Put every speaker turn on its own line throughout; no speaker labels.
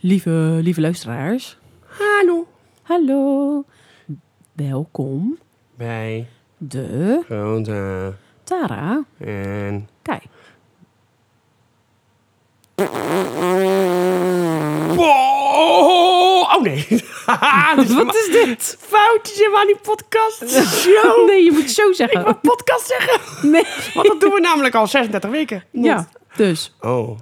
Lieve, lieve luisteraars,
Hallo.
hallo. Welkom
Bij
de
Roda
Tara.
en...
Kijk,
Oh, nee. Dit is
wat is dit?
Foutjes in aan die podcast. Show.
Nee, je moet zo
Ik
zeggen.
wil podcast zeggen.
Nee.
Want dat doen we namelijk al 36 weken.
Ja, dus.
Oh.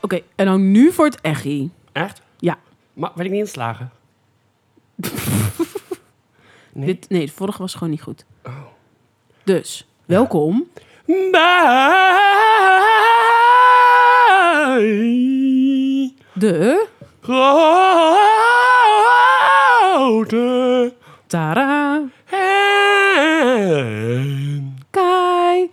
Oké, en dan nu voor het echi.
Echt?
Ja,
Maar werd ik niet inslagen? Nee.
Dit, nee, de vorige was gewoon niet goed. Dus, welkom.
Bij...
De
Grote...
Tara
En...
Kai.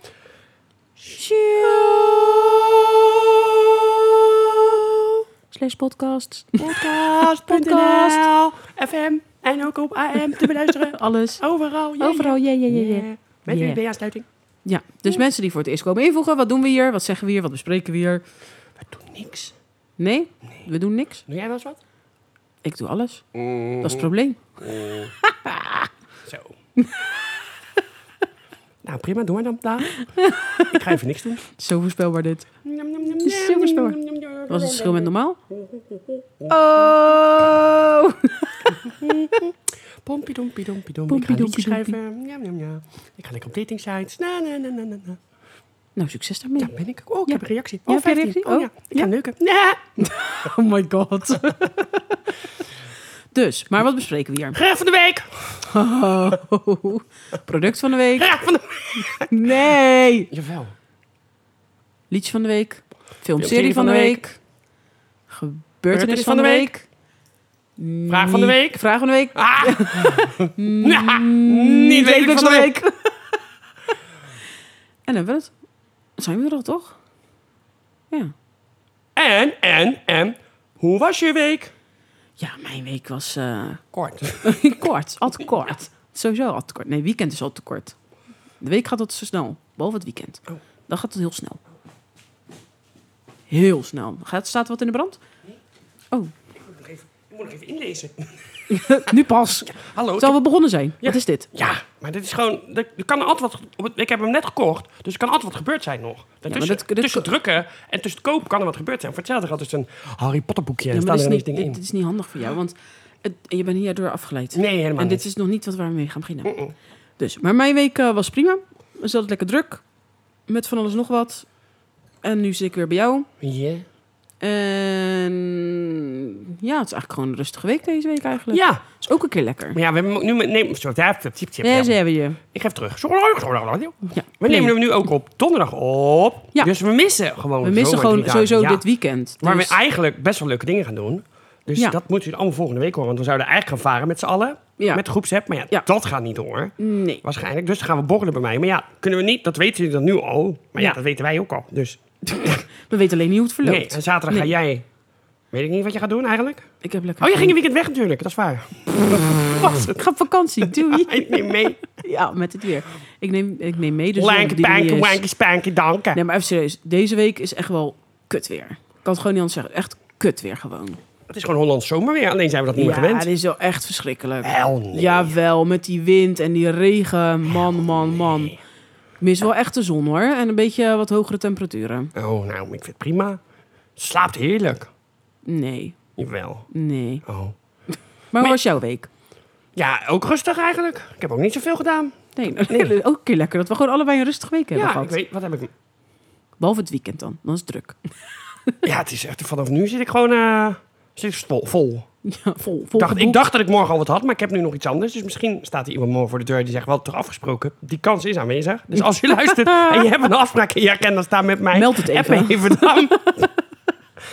Slash podcast.
Podcast.nl, FM en ook op AM te beluisteren.
Alles.
Overal. yeah,
Overal, ja, ja, ja,
yeah.
ja.
Met
Yeah.
USB-aansluiting.
Ja, dus mensen die voor het eerst komen invoegen. Wat doen we hier? Wat zeggen we hier? Wat bespreken we hier?
We doen niks.
Nee, we doen niks.
Doe jij wel eens wat?
Ik doe alles. Dat is het probleem.
Zo. nou, prima. Doe maar dan daar. Ik ga even niks doen.
Zo voorspelbaar dit.
Het
is zo voorspelbaar. Wat was het verschil met normaal?
Oh! Pompidompidompidomp. Ik ga
Pompidompidompi.
liedjes schrijven. Njam, njam, njam. Ik ga lekker op dating sites. Na, na, na, na, na, na.
Nou, succes daarmee.
Ja, ben ik. ook. Oh, ik
Ja.
heb een reactie.
Ja,
Oh,
heb je een
15.
reactie?
Oh, ja.
Oh.
Ik ga
Ja.
neuken. Nee.
Oh my god. dus, maar wat bespreken we hier?
Graag van de week.
Oh, product van de week.
Graag van de week.
Nee.
Jawel.
Liedje van de week. Filmserie van de week. Gebeurtenis van de week.
Vraag van de
Niet-
week.
Vraag van de week.
Ah. Ja,
Niet
Niet weten van de week.
en hebben we het. Zijn we er al, toch? Ja.
En, en, en. Hoe was je week?
Ja, mijn week was eh,
Kort.
kort. Al te kort. Sowieso al te kort. Nee, weekend is al te kort. De week gaat altijd zo snel. Boven het weekend.
Oh.
Dan gaat het heel snel. Heel snel. Gaat, staat er wat in de brand? Oh,
Ik moet nog even inlezen.
nu pas.
Hallo.
Terwijl we begonnen zijn.
Oh, Ja.
Wat is dit?
Ja, maar dit is gewoon. Er er kan altijd wat. op het- Ik heb hem net gekocht, dus er kan altijd wat gebeurd zijn nog. Tussen,
dat- dit-
tussen drukken en tussen het kopen kan er wat gebeurd zijn. Voor hetzelfde gaat dus een Harry Potter boekje en
Ja, maar
staan
dit,
er
is
ineens
niet, dit,
dingen in.
dit is niet handig voor jou, want het, je bent hierdoor afgeleid.
Nee, helemaal
en dit
niet.
is nog niet wat waar we mee gaan beginnen. Dus, maar mijn week eh, was prima. We zaten lekker druk. Met van alles nog wat. En nu zit ik weer bij jou.
Ja.
En Ehm, ja, het is eigenlijk gewoon een rustige week deze week eigenlijk.
Ja,
Is ook een keer lekker.
maar ja, we hebben hem ook nu met. Nee, sorry, ja, tip, tip, tip,
Ja,
ja.
ze hebben je.
Ik geef terug. We
Ja.
nemen hem nu ook op donderdag op.
Ja.
Dus we missen gewoon.
We missen
zomaar
gewoon
drie dagen.
sowieso
Ja.
dit weekend.
Waar
Dus-
we eigenlijk best wel leuke dingen gaan doen. Dus
Ja.
dat moeten jullie allemaal volgende week horen. Want we zouden eigenlijk gaan varen met z'n allen.
Ja.
Met de groepsapp. Maar ja,
Ja.
dat gaat niet hoor.
Nee.
Waarschijnlijk. Dus dan gaan we borrelen bij mij. Maar ja, kunnen we niet. Dat weten jullie dan nu al. Maar ja,
Ja.
dat weten wij ook al. Dus
We weten alleen niet hoe het verloopt.
nee. En zaterdag
Nee.
ga jij... Weet ik niet wat je gaat doen eigenlijk.
Ik heb lekker...
Oh, jij ging een weekend weg natuurlijk. Dat is waar. Was het?
Ik ga op vakantie. Doei.
Ik neem mee.
ja, met het weer. Ik neem, ik neem mee. Dus
Lanky,
die manier
panky,
is-
wanky, spanky, danken.
Nee, maar even serieus. Deze week is echt wel kut weer. Ik kan het gewoon niet anders zeggen. Echt kut weer gewoon.
Het is gewoon Hollands zomerweer. Alleen zijn we dat niet meer
ja,
gewend.
dit is wel echt verschrikkelijk.
Hel nee.
Jawel, met die wind en die regen. Man, man, man. Ik mis wel echt de zon hoor. En een beetje wat hogere temperaturen.
Oh, nou, ik vind het prima. Slaapt heerlijk.
Nee,
Jawel.
nee.
Oh.
Maar hoe was jouw week?
Ja, ook rustig eigenlijk. Ik heb ook niet zoveel gedaan.
Nee, ook een keer lekker dat we gewoon allebei een rustige week hebben
Ja,
gehad.
ik weet, wat heb ik...
Behalve het weekend dan. Dan is het druk.
Ja, het is echt... Vanaf nu zit ik gewoon... eh, zit ik vol. vol.
Ja, vol,
Ik
vol
Dacht, ik
geboekt.
dacht dat ik morgen al wat had, maar ik heb nu nog iets anders. Dus misschien staat er iemand morgen voor de deur die zegt... Wat toch afgesproken? Die kans is aanwezig. Dus als je luistert en je hebt een afspraak en je herkent dan staan met mij...
Meld het
app
even.
me even dan.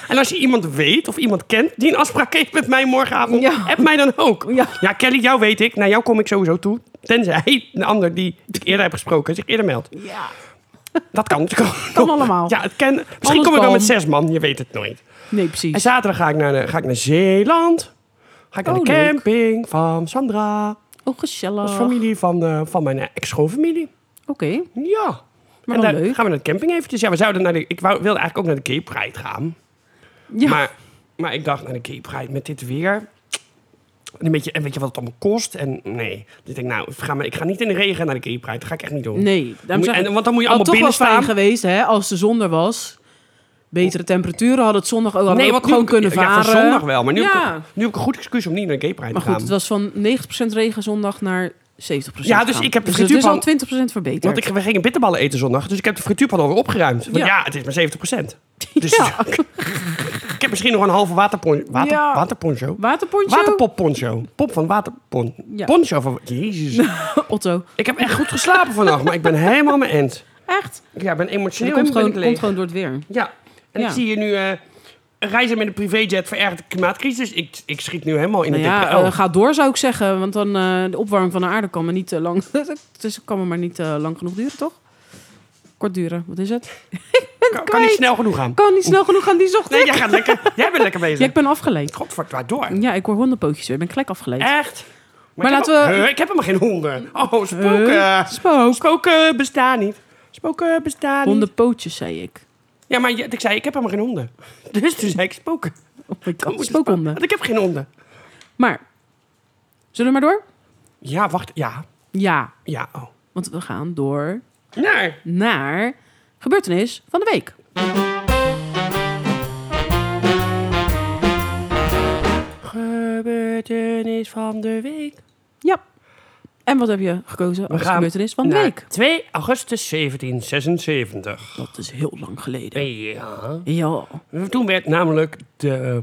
En als je iemand weet of iemand kent die een afspraak heeft met mij morgenavond,
Ja.
app mij dan ook.
Ja.
ja, Kelly, jou weet ik. Naar jou kom ik sowieso toe. Tenzij een ander die ik eerder heb gesproken zich eerder meldt.
Ja.
Dat kan.
Kan allemaal.
Ja, het kan. Misschien
Alles
kom ik wel
kan.
met zes man, je weet het nooit.
Nee,
En
precies.
zaterdag ga ik naar, de- ga ik naar Zeeland. Ga ik naar
Oh,
de
leuk.
camping van Sandra.
Oh,
Dat is
gezellig. Oké,
familie van, eh, van mijn eh, ex-schoonfamilie. Ja.
maar
en
dan
daar
leuk.
gaan we naar de camping eventjes. Ja, we zouden naar de, ik wou, wilde eigenlijk ook naar de Cape Ride gaan.
Ja,
Maar, maar ik dacht, nou, de Cape Ride met dit weer. En, een beetje, en weet je wat het allemaal kost? En nee. Dus ik denk, nou, ik ga, maar, ik ga niet in de regen naar de Cape Ride. Dat ga ik echt niet doen.
nee. Daarom
Moet-
zeg ik,
en, want dan moet je
had
allemaal
toch
binnen
wel fijn
staan.
geweest, hè, als de zon er was. Betere temperaturen hadden het zondag ook, hadden
Oh. Nee,
we
want
ook gewoon
nu-
kunnen varen.
Ja, voor zondag wel. Maar nu,
Ja.
heb, ik, nu heb ik een goed excuus om niet naar de Cape Ride
Maar
te gaan.
goed, het was van 90% regen zondag naar 70%
Ja, dus
gaan.
ik heb de
dus het is al
frituurpan-
20% verbeterd.
Want ik, we gingen bitterballen eten zondag, dus ik heb de frituurpan alweer opgeruimd. Want ja.
Ja.
het is maar 70%. Dus
Ja.
ik heb misschien nog een halve waterpon, water,
Ja.
waterponcho.
Waterpontje?
Waterpopponcho. Pop van waterpon.
Ja.
Poncho van... Jezus.
Otto.
ik heb echt goed geslapen vannacht, maar ik ben helemaal mijn end.
Echt?
Ja, ik ben
Dat
emotioneel
komt
ben
gewoon,
ik leeg.
komt gewoon door het weer.
Ja. En
Ja.
ik zie hier nu... eh reizen met een privéjet verergert de klimaatcrisis. Ik, ik schiet nu helemaal in de Oh,
Nou ja,
dikke L.
eh, ga door zou ik zeggen. Want dan eh, de opwarming van de aarde kan maar niet te lang... dus kan maar niet eh, lang genoeg duren, toch? Kort duren, wat is het?
kan, kan niet
kwijt.
snel genoeg gaan.
Kan niet snel genoeg aan die zocht.
Nee, jij, gaat lekker, jij bent lekker bezig.
Ja, ik ben afgeleid.
Godverd, waardoor?
Ja, ik hoor hondenpootjes weer. Ik ben gelijk afgeleid.
Echt?
Maar
ik heb
laten
al-
we-
Huh, ik heb helemaal geen honden. Oh, spoken.
Huh? Eh, Spook.
Spoken bestaan niet. Spoken bestaan niet.
Hondenpootjes, zei ik.
Ja, maar je- ik zei, ik heb helemaal geen honden. Dus toen zei ik spoken.
Oh my
Dan moet
god,
je
spookhonden.
Want ik heb geen honden.
Maar, zullen we maar door?
Ja, wacht. Ja.
Ja,
Ja, oh.
want we gaan door
Nee.
naar gebeurtenis van de week.
Gebeurtenis van de week.
Ja. En wat heb je gekozen als
gaan
gebeurtenis van de
Naar
week?
2 augustus 1776.
Dat is heel lang geleden.
Ja.
Ja.
Toen werd namelijk de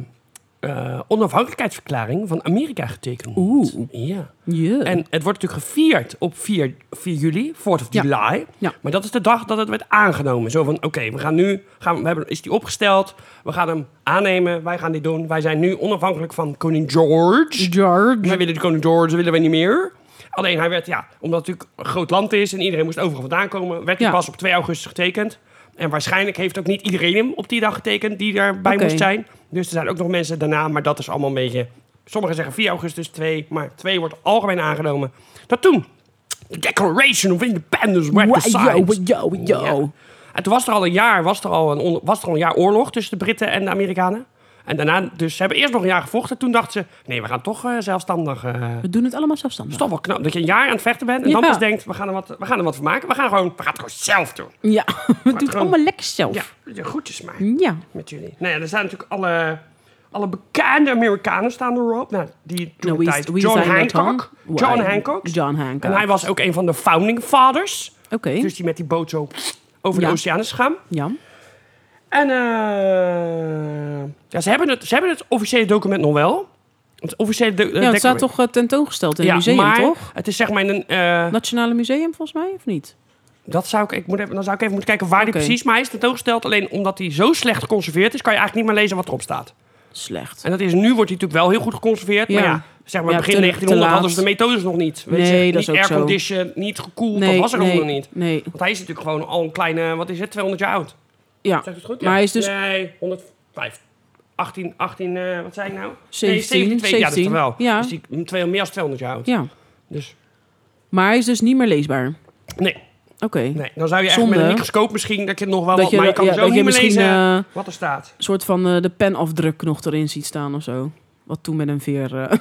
eh, onafhankelijkheidsverklaring van Amerika getekend.
Oeh.
Ja.
Ja.
En het wordt natuurlijk gevierd op 4, 4 juli, 4 of
Ja.
July.
Ja.
Maar dat is de dag dat het werd aangenomen. Zo van, oké, we gaan nu, gaan, we- we hebben, is die opgesteld, we gaan hem aannemen, wij gaan dit doen. Wij zijn nu onafhankelijk van koning George. Wij
George.
willen de koning George, willen wij niet meer. Alleen hij werd, ja, omdat het natuurlijk een groot land is en iedereen moest overal vandaan komen, werd hij
Ja.
pas op 2 augustus getekend. En waarschijnlijk heeft ook niet iedereen hem op die dag getekend die daarbij
Oké.
moest zijn. Dus er zijn ook nog mensen daarna, maar dat is allemaal een beetje... Sommigen zeggen 4 augustus 2, maar 2 wordt algemeen aangenomen. Dat toen, de Declaration of Independence werd
Wow,
decided.
yo, yo, yo.
En toen was er al een jaar, was er al een, on- was er al een jaar oorlog tussen de Britten en de Amerikanen. En daarna, dus ze hebben eerst nog een jaar gevochten. Toen dachten ze, nee, we gaan toch eh, zelfstandig... eh,
We doen het allemaal
is
zelfstandig.
toch wel knap dat je een jaar aan het vechten bent en dan
Ja.
pas denkt, we gaan, er wat, we gaan er wat van maken. We gaan, gewoon, we gaan het gewoon zelf doen.
Ja, we doen het
gewoon-
allemaal lekker zelf.
Ja,
Ja.
dat je groetjes maken met jullie. Nou ja, er staan natuurlijk alle, alle bekende Amerikanen staan erop. Nou, die toen
Nou, wie,
de
is-
tijd
wie
John
zijn dat dan?
Hancock.
Why?
John Hancock.
John Hancock.
En hij was ook een van de founding fathers.
Oké,
Dus Eh, die met die boot zo over
Ja.
de oceaan is gegaan.
ja.
En eh, ja, ze, hebben het, ze hebben het officiële document nog wel. Het officiële do- eh,
Ja, het staat
document.
toch eh, tentoongesteld in het museum,
maar
toch?
het is zeg maar in een... eh,
Nationale Museum, volgens mij, of niet?
Dat zou ik, ik moet even, dan zou ik even moeten kijken waar
Oké.
die precies. Maar hij is tentoongesteld. Alleen omdat hij zo slecht geconserveerd is, kan je eigenlijk niet meer lezen wat erop staat.
Slecht.
En dat is nu wordt hij natuurlijk wel heel goed geconserveerd.
Ja.
Maar ja, zeg maar
Ja,
begin
te- te
1900 hadden
laat.
ze de methodes nog niet. Weet
Nee,
je,
dat is
niet
ook zo.
airconditioned, niet gekoeld. dat was er
nee,
allemaal nog niet.
Nee,
Want hij is natuurlijk gewoon al een kleine, wat is het, 200 jaar oud.
ja.
Zeg ik het goed?
Maar hij is dus-
Nee, 105. 18, 18, eh, wat zei ik nou?
17,
nee, 17. Ja, dat is toch wel.
Ja.
Dus die, twee, meer dan 200 jaar oud.
ja.
Dus
Maar hij is dus niet meer leesbaar.
nee,
Oké.
nee, dan zou je echt
Zonde.
met een microscoop misschien, dat je nog wel
Dat
wat,
je-
maar je kan
ja,
zo
dat je
niet meer
misschien,
lezen
eh,
wat er staat.
Een soort van eh, de penafdruk nog erin ziet staan of zo. Wat toen met een veer eh,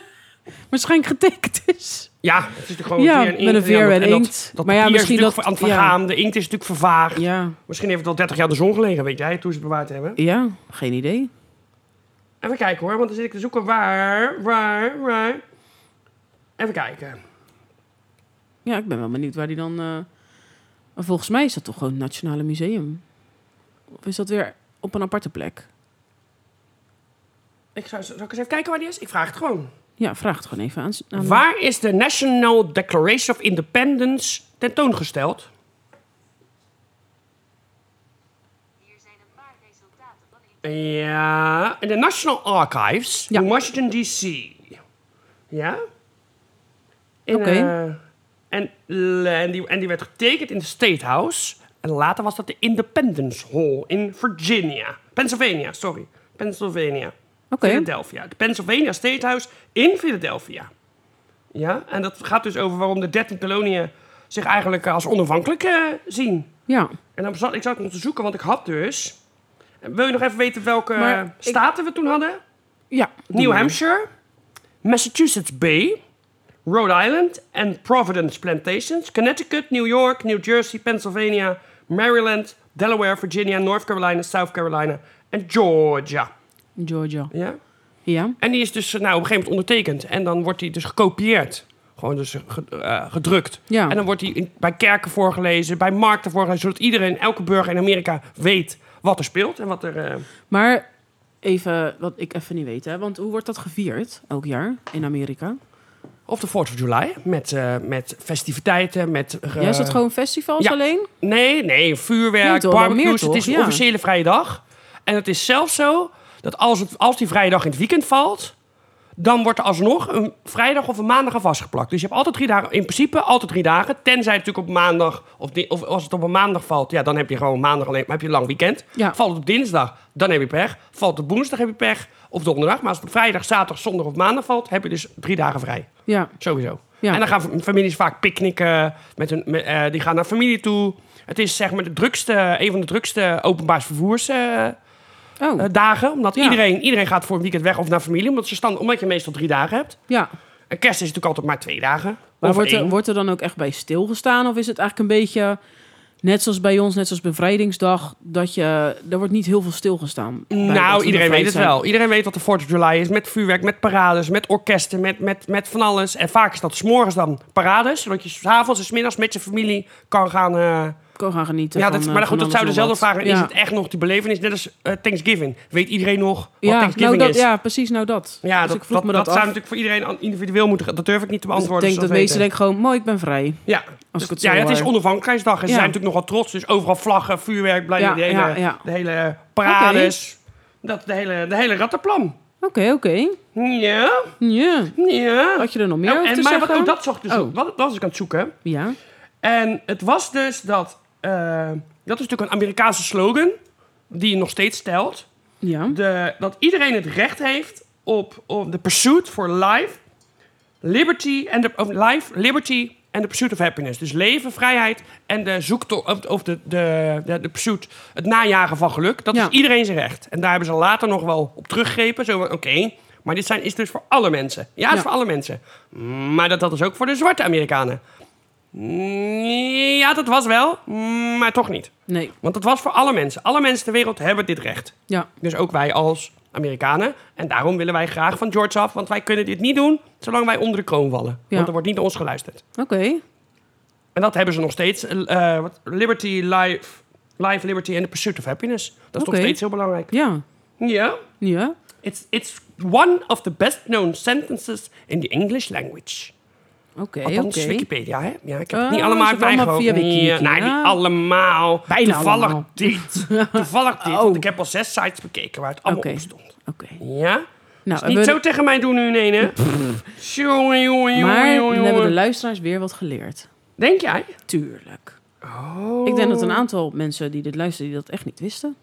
waarschijnlijk getekend is.
Ja, het is natuurlijk gewoon
Ja,
weer Oh, een inkt.
met een veer en
dat-
inkt.
Dat,
Maar ja,
papier
misschien
is natuurlijk
dat-
aan het vergaan. De inkt is natuurlijk vervaagd.
Ja.
Misschien heeft het al 30 jaar de zon gelegen, weet jij, toen ze het bewaard hebben.
Ja, geen idee.
Even kijken hoor, want dan zit ik te zoeken waar, waar, waar. Even kijken.
Ja, ik ben wel benieuwd waar die dan... eh, maar Volgens mij is dat toch gewoon het Nationale Museum? Of is dat weer op een aparte plek?
Ik zou, zal ik eens even kijken waar die is? Ik vraag het gewoon.
Ja, vraag het gewoon even aan. aan-
Waar is de National Declaration of Independence tentoongesteld?
Hier zijn een paar resultaten van in
Ja, in de National Archives
Ja.
in Washington D.C. Ja? In,
Oké.
eh, en, le- en, die, en die werd getekend in de State House En later was dat de Independence Hall in Virginia. Pennsylvania, sorry. Pennsylvania.
Oké.
Philadelphia. De Pennsylvania State House in Philadelphia. Ja, en dat gaat dus over waarom de 13 koloniën zich eigenlijk als onafhankelijk eh, zien.
Ja.
En dan zat ik zat om te zoeken, want ik had dus. En Wil je nog even weten welke
Maar ik-
staten we toen hadden?
Ja.
New Hampshire, Massachusetts Bay, Rhode Island en Providence Plantations, Connecticut, New York, New Jersey, Pennsylvania, Maryland, Delaware, Virginia, North Carolina, South Carolina en Georgia.
Georgia.
Ja?
Ja.
En die is dus eh, nou, op een gegeven moment ondertekend en dan wordt die dus gekopieerd. Gewoon dus ge- eh, gedrukt.
Ja.
En dan wordt die in- bij kerken voorgelezen, bij markten voorgelezen, zodat iedereen, elke burger in Amerika weet wat er speelt en wat er... eh,
Maar even, wat ik even niet weet, hè. Want hoe wordt dat gevierd elk jaar in Amerika?
Of de 4th of July, met, eh, met festiviteiten, met... eh,
ja, is dat gewoon festivals
ja.
alleen?
Nee, nee,
Nee,
vuurwerk,
toch, wel meer
barbecues.
toch,
Het is een
ja.
officiële vrije dag. En het is zelfs zo dat als, het, als die vrijdag in het weekend valt... dan wordt er alsnog een vrijdag of een maandag aan vastgeplakt. Dus je hebt altijd drie dagen, in principe altijd drie dagen. Tenzij het natuurlijk op maandag, of, di- of als het op een maandag valt... ja, dan heb je gewoon maandag alleen, maar heb je een lang weekend.
Ja.
Valt het op dinsdag, dan heb je pech. Valt het op woensdag, heb je pech. Of donderdag. Maar als het op vrijdag, zaterdag, zondag of maandag valt... heb je dus drie dagen vrij.
Ja.
Sowieso.
Ja.
En dan gaan fam- families vaak picknicken. Met hun, met, eh, die gaan naar familie toe. Het is zeg maar de drukste, een van de drukste openbaar vervoersdagen.
Oh,
dagen omdat
Ja.
iedereen, iedereen gaat voor een weekend weg of naar familie. Omdat, ze stand, omdat je meestal drie dagen hebt.
ja.
En kerst is natuurlijk altijd maar twee dagen.
Maar
Of
wordt er,
één.
wordt er dan ook echt bij stilgestaan? Of is het eigenlijk een beetje, net zoals bij ons, net zoals Bevrijdingsdag, dat je, er wordt niet heel veel stilgestaan? bij dat
nou,
we
iedereen weet
bevrijd
het
zijn?
wel. Iedereen weet wat de 4th of July is. Met vuurwerk, met parades, met orkesten, met, met, met van alles. En vaak is dat s'morgens dan parades. Zodat je s'avonds en s'middags met je familie kan gaan... eh,
Kan gaan genieten.
Ja,
van,
dat,
eh,
maar goed,
van
dat zou
alles en
dezelfde
wat.
vraag zijn. Is
Ja.
het echt nog die belevenis? Net als eh, Thanksgiving. Weet iedereen nog wat
ja, nou
Thanksgiving
dat,
is?
ja, precies, nou dat.
Ja,
Dus
dat,
ik vroeg
dat,
me dat,
dat
af.
zou natuurlijk voor iedereen an- individueel moeten... Dat durf ik niet te
Dus ik
beantwoorden.
denk dat
zoals
meesten denken
weten.
gewoon, mooi, ik ben vrij.
Ja,
Als ik
Dus-
het zo
ja het is
hoor.
onafhankelijkheidsdag. En ze
Ja.
zijn natuurlijk nogal trots. Dus overal vlaggen, vuurwerk, blijven
Ja,
de, hele,
ja, ja.
de hele parades. Dat, de, hele, de hele rattenplan.
Oké, oké.
Ja,
Ja.
ja.
Had je er nog meer
Nou,
over
en,
te
maar wat,
zeggen?
ook dat zocht dus,
Oh.
wat, dat was ik aan het zoeken.
Ja.
En het was dus dat... eh, dat is natuurlijk een Amerikaanse slogan... die je nog steeds stelt.
Ja.
de, dat iedereen het recht heeft op, op de pursuit for life, liberty and the, of life, liberty and the pursuit of happiness. Dus leven, vrijheid en de zoektocht of- of de, de, de, de pursuit, het najagen van geluk. Dat
Ja.
is iedereen zijn recht. En daar hebben ze later nog wel op teruggegrepen. Zo van, oké, maar dit zijn, is dus voor alle mensen. Ja, het
Ja.
is voor alle mensen. Maar dat, dat is ook voor de zwarte Amerikanen. Ja, dat was wel, maar toch niet.
Nee.
Want dat was voor alle mensen. Alle mensen ter wereld hebben dit recht.
Ja.
Dus ook wij als Amerikanen. En daarom willen wij graag van George af. Want wij kunnen dit niet doen zolang wij onder de kroon vallen.
Ja.
Want er wordt niet naar ons geluisterd.
Oké.
En dat hebben ze nog steeds. eh, eh, wat- liberty, life, life, liberty and the pursuit of happiness. Dat is nog
Oké.
steeds heel belangrijk.
Ja.
Ja.
Ja.
It's, it's one of the best known sentences in the English language.
Oké,
Althans,
oké.
Wikipedia, hè? Ja, ik
Oh,
heb het niet
is
allemaal uit
het
mijn
allemaal
eigen
via
hoofd.
Wiki,
Nee,
Wiki,
nee,
ja.
niet allemaal.
Bijna
Toevallig
allemaal.
dit. Toevallig dit.
Oh.
Want ik heb al zes sites bekeken waar het allemaal
Oké.
op stond.
Oké.
Ja?
Nou,
Niet
hebben
zo tegen mij doen nu nee, hè? Jongen, jongen, jongen,
Maar dan hebben de
jongen.
luisteraars weer wat geleerd.
Denk jij?
Tuurlijk.
Oh.
Ik denk dat een aantal mensen die dit luisteren, die dat echt niet wisten.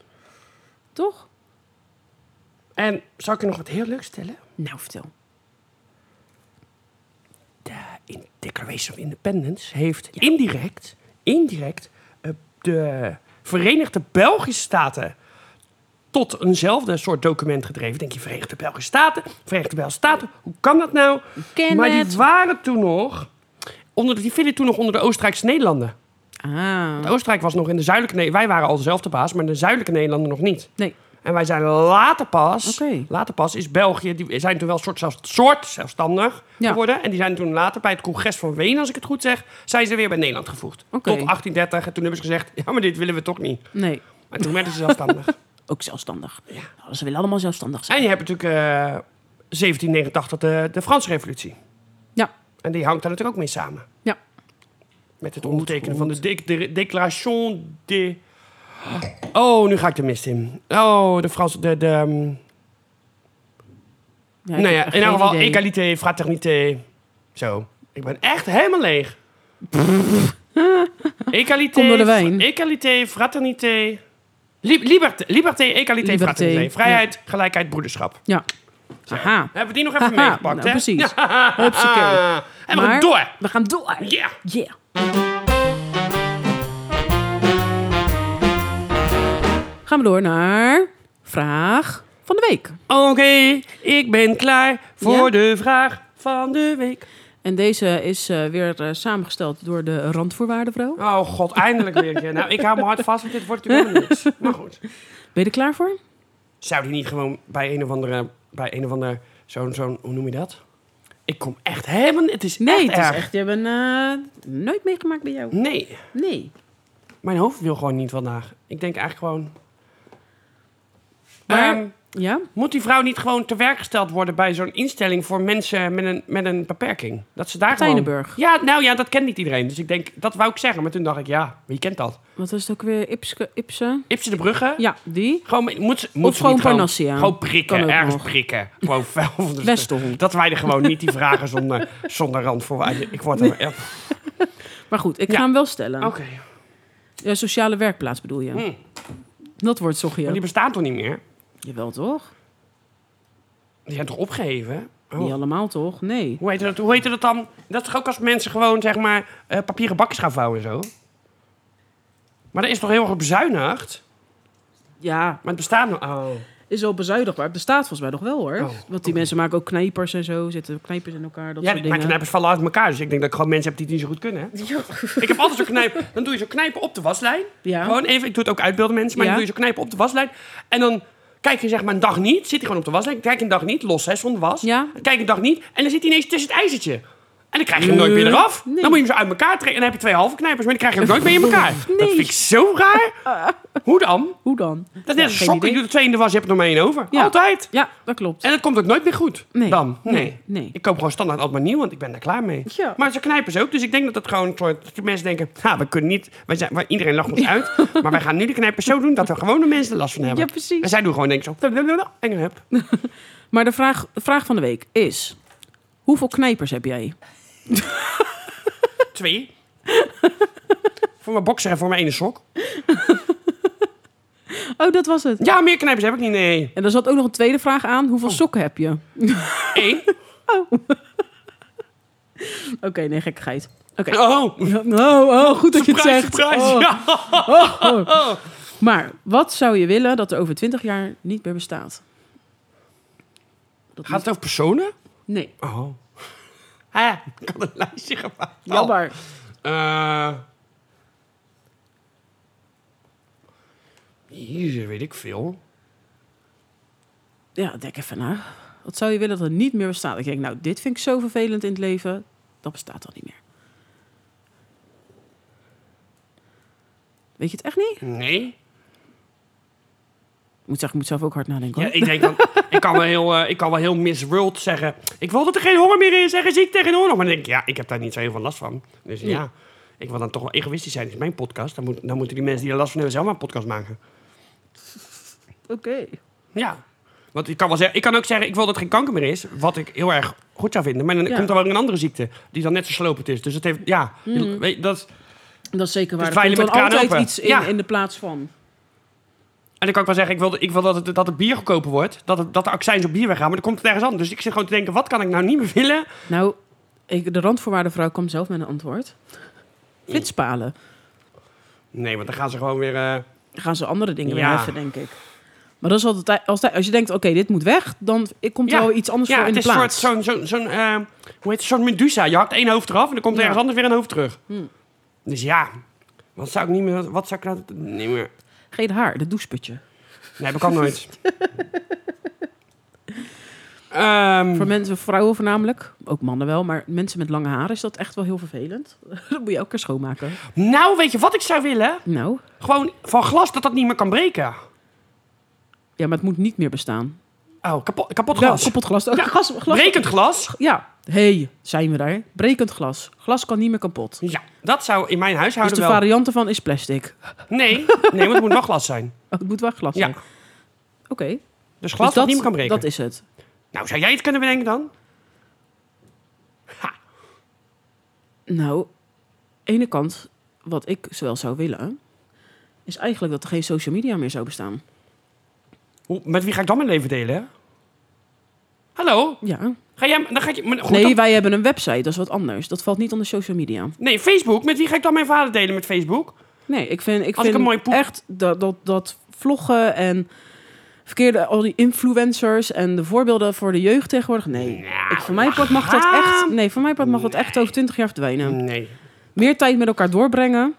Toch?
En zal ik je nog wat heel leuks vertellen?
Nou, vertel.
De in- Declaration of Independence heeft indirect, indirect eh, de Verenigde Belgische Staten tot eenzelfde soort document gedreven. Denk je, Verenigde Belgische Staten? Verenigde Belgische Staten, hoe kan dat nou?
Ken
maar
het.
die waren toen nog, onder, de- die vielen toen nog onder de Oostenrijkse Nederlanden.
Ah.
Oostenrijk was nog in de zuidelijke Nederlanden. Wij waren al dezelfde baas, maar in de zuidelijke Nederlanden nog niet.
Nee.
En wij zijn later pas,
Oké.
later pas is België, die zijn toen wel soort, zelfs, soort zelfstandig
Ja.
geworden. En die zijn toen later bij het congres van Wenen, als ik het goed zeg, zijn ze weer bij Nederland gevoegd.
Oké.
Tot 1830. En toen hebben ze gezegd, ja, maar dit willen we toch niet.
Nee.
En toen werden ze zelfstandig.
Ook zelfstandig. Nou, Ze willen allemaal zelfstandig zijn.
en je hebt natuurlijk eh, 1789 de, de Franse revolutie.
Ja.
En die hangt daar natuurlijk ook mee samen.
Ja.
Met het ondertekenen van de, dec- de Declaration de... Oh, nu ga ik de mist in. Oh, de Franse... De, de, ehm,
Ja, ik
nou
heb
ja,
echt
in ieder
geen
geval
idee.
egalité, fraternité. Zo. Ik ben echt helemaal leeg. Egalité.
Kom door de wijn.
Egalité, fraternité. Li- liberté, liberté, egalité,
Liberté,
fraternité.
ja.
Vrijheid, gelijkheid, broederschap.
Ja. Aha.
Hebben we die nog even
Haha,
meegepakt,
nou,
hè?
precies.
Ja.
Hupsakee.
En we gaan door.
We gaan door.
Ja.
Yeah. Gaan we door naar vraag van de week.
Oké, ik ben klaar voor
Ja.
de vraag van de week.
En deze is eh, weer eh, samengesteld door de Randvoorwaardenvrouw.
Oh god, eindelijk weer een keer. Nou, ik hou me hard vast, want dit wordt natuurlijk helemaal niks. Maar goed.
Ben je er klaar voor?
Zou die niet gewoon bij een of andere... Bij een of andere... Zo'n... zo'n hoe noem je dat? Ik kom echt helemaal... Het is
Nee,
echt
het is
erg.
echt. Je hebt een, eh, nooit meegemaakt bij jou.
Nee.
Nee.
Mijn hoofd wil gewoon niet vandaag. Ik denk eigenlijk gewoon...
Maar-
Ehm,
Ja?
moet die vrouw niet gewoon te werk gesteld worden bij zo'n instelling voor mensen met een, met een beperking? Dat ze daar gewoon...
Tijnenburg.
Ja, nou ja, dat kent niet iedereen. Dus ik denk, dat wou ik zeggen. Maar toen dacht ik, ja, wie kent dat?
Wat was het ook weer? Ipske, Ipse?
Ipse de Brugge?
Ja, die.
Gewoon, moet, ze- moet ze niet
gewoon Parnassia.
Gewoon
Kan
prikken,
ook
ergens
nog.
prikken. Gewoon vuil. van de-
Westerhond.
Dat wij er gewoon niet die vragen zonder, zonder rand voor... Ik word er... ja. Oké.
Maar goed, ik
Ja.
ga hem wel stellen. Ja, sociale werkplaats bedoel je.
Hm.
Dat wordt zochtje.
Maar die bestaan toch niet meer?
Jawel toch?
Die zijn toch opgeheven? Oh.
Niet allemaal toch? Nee.
Hoe heette dat, hoe heette dat dan? Dat is toch ook als mensen gewoon, zeg maar, eh, papieren bakjes gaan vouwen en zo? Maar dat is toch heel erg op bezuinigd?
Ja,
Maar het bestaat nog... Oh.
is wel bezuinigd, maar het bestaat volgens mij nog wel hoor.
Oh,
Want die mensen maken ook knijpers en zo, zitten knijpers in elkaar, dat
Ja,
soort
maar
dingen.
knijpers vallen uit elkaar. Dus ik denk dat ik gewoon mensen heb die het niet zo goed kunnen. hè? Ik heb altijd zo'n knijp... Dan doe je zo'n knijpen op de waslijn.
Ja.
Gewoon even... Ik doe het ook uitbeelden mensen. Maar
Ja.
dan doe je zo'n knijpen op de waslijn. En dan kijk je zeg maar een dag niet. Zit hij gewoon op de waslijn. Kijk een dag niet. Los hè, zonder was.
Ja.
Kijk een dag niet. En dan zit hij ineens tussen het ijzertje. En dan krijg je hem nooit meer eraf.
Nee.
Dan moet je hem zo uit elkaar trekken. En dan heb je twee halve knijpers. Maar dan krijg je hem nooit meer in elkaar. Dat vind ik zo raar. Hoe dan?
Hoe dan?
Dat is net
Ja,
een
geen
sokken. Je
idee.
doet er twee in de was. Je hebt er nog maar één over.
Ja.
Altijd.
Ja, dat klopt.
En dat komt ook nooit meer goed.
Nee.
Dan? Nee.
Nee, nee.
Ik koop gewoon standaard altijd maar nieuw, want ik ben daar klaar mee.
Ja.
Maar ze knijpen ze ook. Dus ik denk dat dat gewoon een soort... Dat die mensen denken, ha, we kunnen niet... Wij zijn, wij- iedereen lacht ons uit. Maar wij gaan nu de knijpers zo doen dat er gewone mensen er last van hebben.
Ja, precies.
En zij doen gewoon denk ik zo... blablabla, En hup.
Maar de vraag, de vraag van de week is, hoeveel knijpers heb jij?
Twee. voor mijn bokser en voor mijn ene sok.
Oh, dat was het.
Ja, meer knijpers heb ik niet, nee.
En er zat ook nog een tweede vraag aan, hoeveel
Oh.
sokken heb je?
Eén.
Oké, nee, gekkigheid. Oké.
Oh.
Oh, oh, goed dat je het
Surprise,
zegt.
surprise.
Oh.
Ja.
Maar wat zou je willen dat er over 20 jaar niet meer bestaat? Dat
Gaat het over personen?
moet- Nee,
Oh. Ha, ik had een lijstje gemaakt.
jammer.
Eh. Jezus, weet ik veel.
Ja, denk even na. Wat zou je willen dat er niet meer bestaat? Ik denk, nou, dit vind ik zo vervelend in het leven. Dat bestaat al niet meer. Weet je het echt niet?
Nee.
Ik moet, zeggen, ik moet zelf ook hard nadenken.
Ja,
hoor.
ik denk dan, ik kan wel heel, eh, ik kan wel heel Miss World zeggen. Ik wil dat er geen honger meer is en geen ziekte en geen oorlog. Maar dan denk ik, ja, ik heb daar niet zo heel veel last van. Dus ja, ik wil dan toch wel egoïstisch zijn. Het is mijn podcast. Dan, moet, dan moeten die mensen die er last van hebben zelf maar een podcast maken.
Oké.
Ja. Want ik kan, wel zeggen, ik kan ook zeggen, ik wil dat er geen kanker meer is. Wat ik heel erg goed zou vinden. Maar dan
Ja.
komt er wel een andere ziekte. Die dan net zo slopend is. Dus dat heeft, ja. je- Weet, dat,
Dat is zeker waar.
Dus
er
dweilen
komt
met
dan
kraan
altijd
open.
iets in,
Ja.
in de plaats van.
En dan kan ik wel zeggen, ik wil, ik wil dat, het, dat het bier goedkoper wordt. Dat, het, dat de accijns op bier weggaan, maar dan komt het ergens anders. Dus ik zit gewoon te denken, wat kan ik nou niet meer willen?
Nou, ik, de randvoorwaardenvrouw kwam zelf met een antwoord. Flitspalen.
Nee, want dan gaan ze gewoon weer... eh,
Dan gaan ze andere dingen
Ja.
weer heffen, denk ik. Maar dat is altijd, als, als je denkt, oké, dit moet weg, dan komt er
Ja.
wel iets anders
ja,
voor in
het
de
is een soort
plaats.
zo'n, zo'n, zo'n, eh, hoe heet het, zo'n medusa. Je hakt één hoofd eraf en dan komt er
Ja. Hm.
ergens anders weer een hoofd terug. Dus ja, wat zou ik niet meer... Wat zou ik nou niet meer...
Geen haar, dat doucheputje.
Nee, dat kan nooit. Ehm,
Voor mensen, vrouwen voornamelijk, ook mannen wel, maar mensen met lange haren is dat echt wel heel vervelend. dat moet je elke keer schoonmaken.
nou, weet je wat ik zou willen?
Nou,
Gewoon van glas dat dat niet meer kan breken.
ja, maar het moet niet meer bestaan.
Oh, kapot, kapot
Ja,
glas.
koppelt glas. Ja, glas, glas.
Brekend glas.
Ja, hey, zijn we daar. Brekend glas. Glas kan niet meer kapot.
Ja, dat zou in mijn
Dus
huishouden
de
wel...
variant ervan is plastic.
Nee, nee, want het moet wel glas zijn.
Oh, het moet wel glas
Ja.
zijn. Oké.
Dus
Dus
glas dat niemand kan breken.
Dat is het.
Nou, zou jij het kunnen bedenken dan?
Nou, ene kant wat ik zowel zou willen, is eigenlijk dat er geen social media meer zou bestaan.
Hoe, met wie ga ik dan mijn leven delen? hè? Hallo?
Ja.
Ga jij, dan ga ik, maar goed,
nee,
dan-
wij hebben een website, dat is wat anders. Dat valt niet onder social media.
nee, Facebook. Met wie ga ik dan mijn verhalen delen met Facebook?
Nee, ik vind, ik
Als ik
vind
een mooi poep-
echt dat, dat, dat vloggen en verkeerde al die influencers en de voorbeelden voor de jeugd tegenwoordig. Nee,
Nou,
ik, voor mijn part mag dat echt.
gaan.
Nee, voor mijn part mag dat echt over 20 jaar verdwijnen.
Nee.
Meer tijd met elkaar doorbrengen.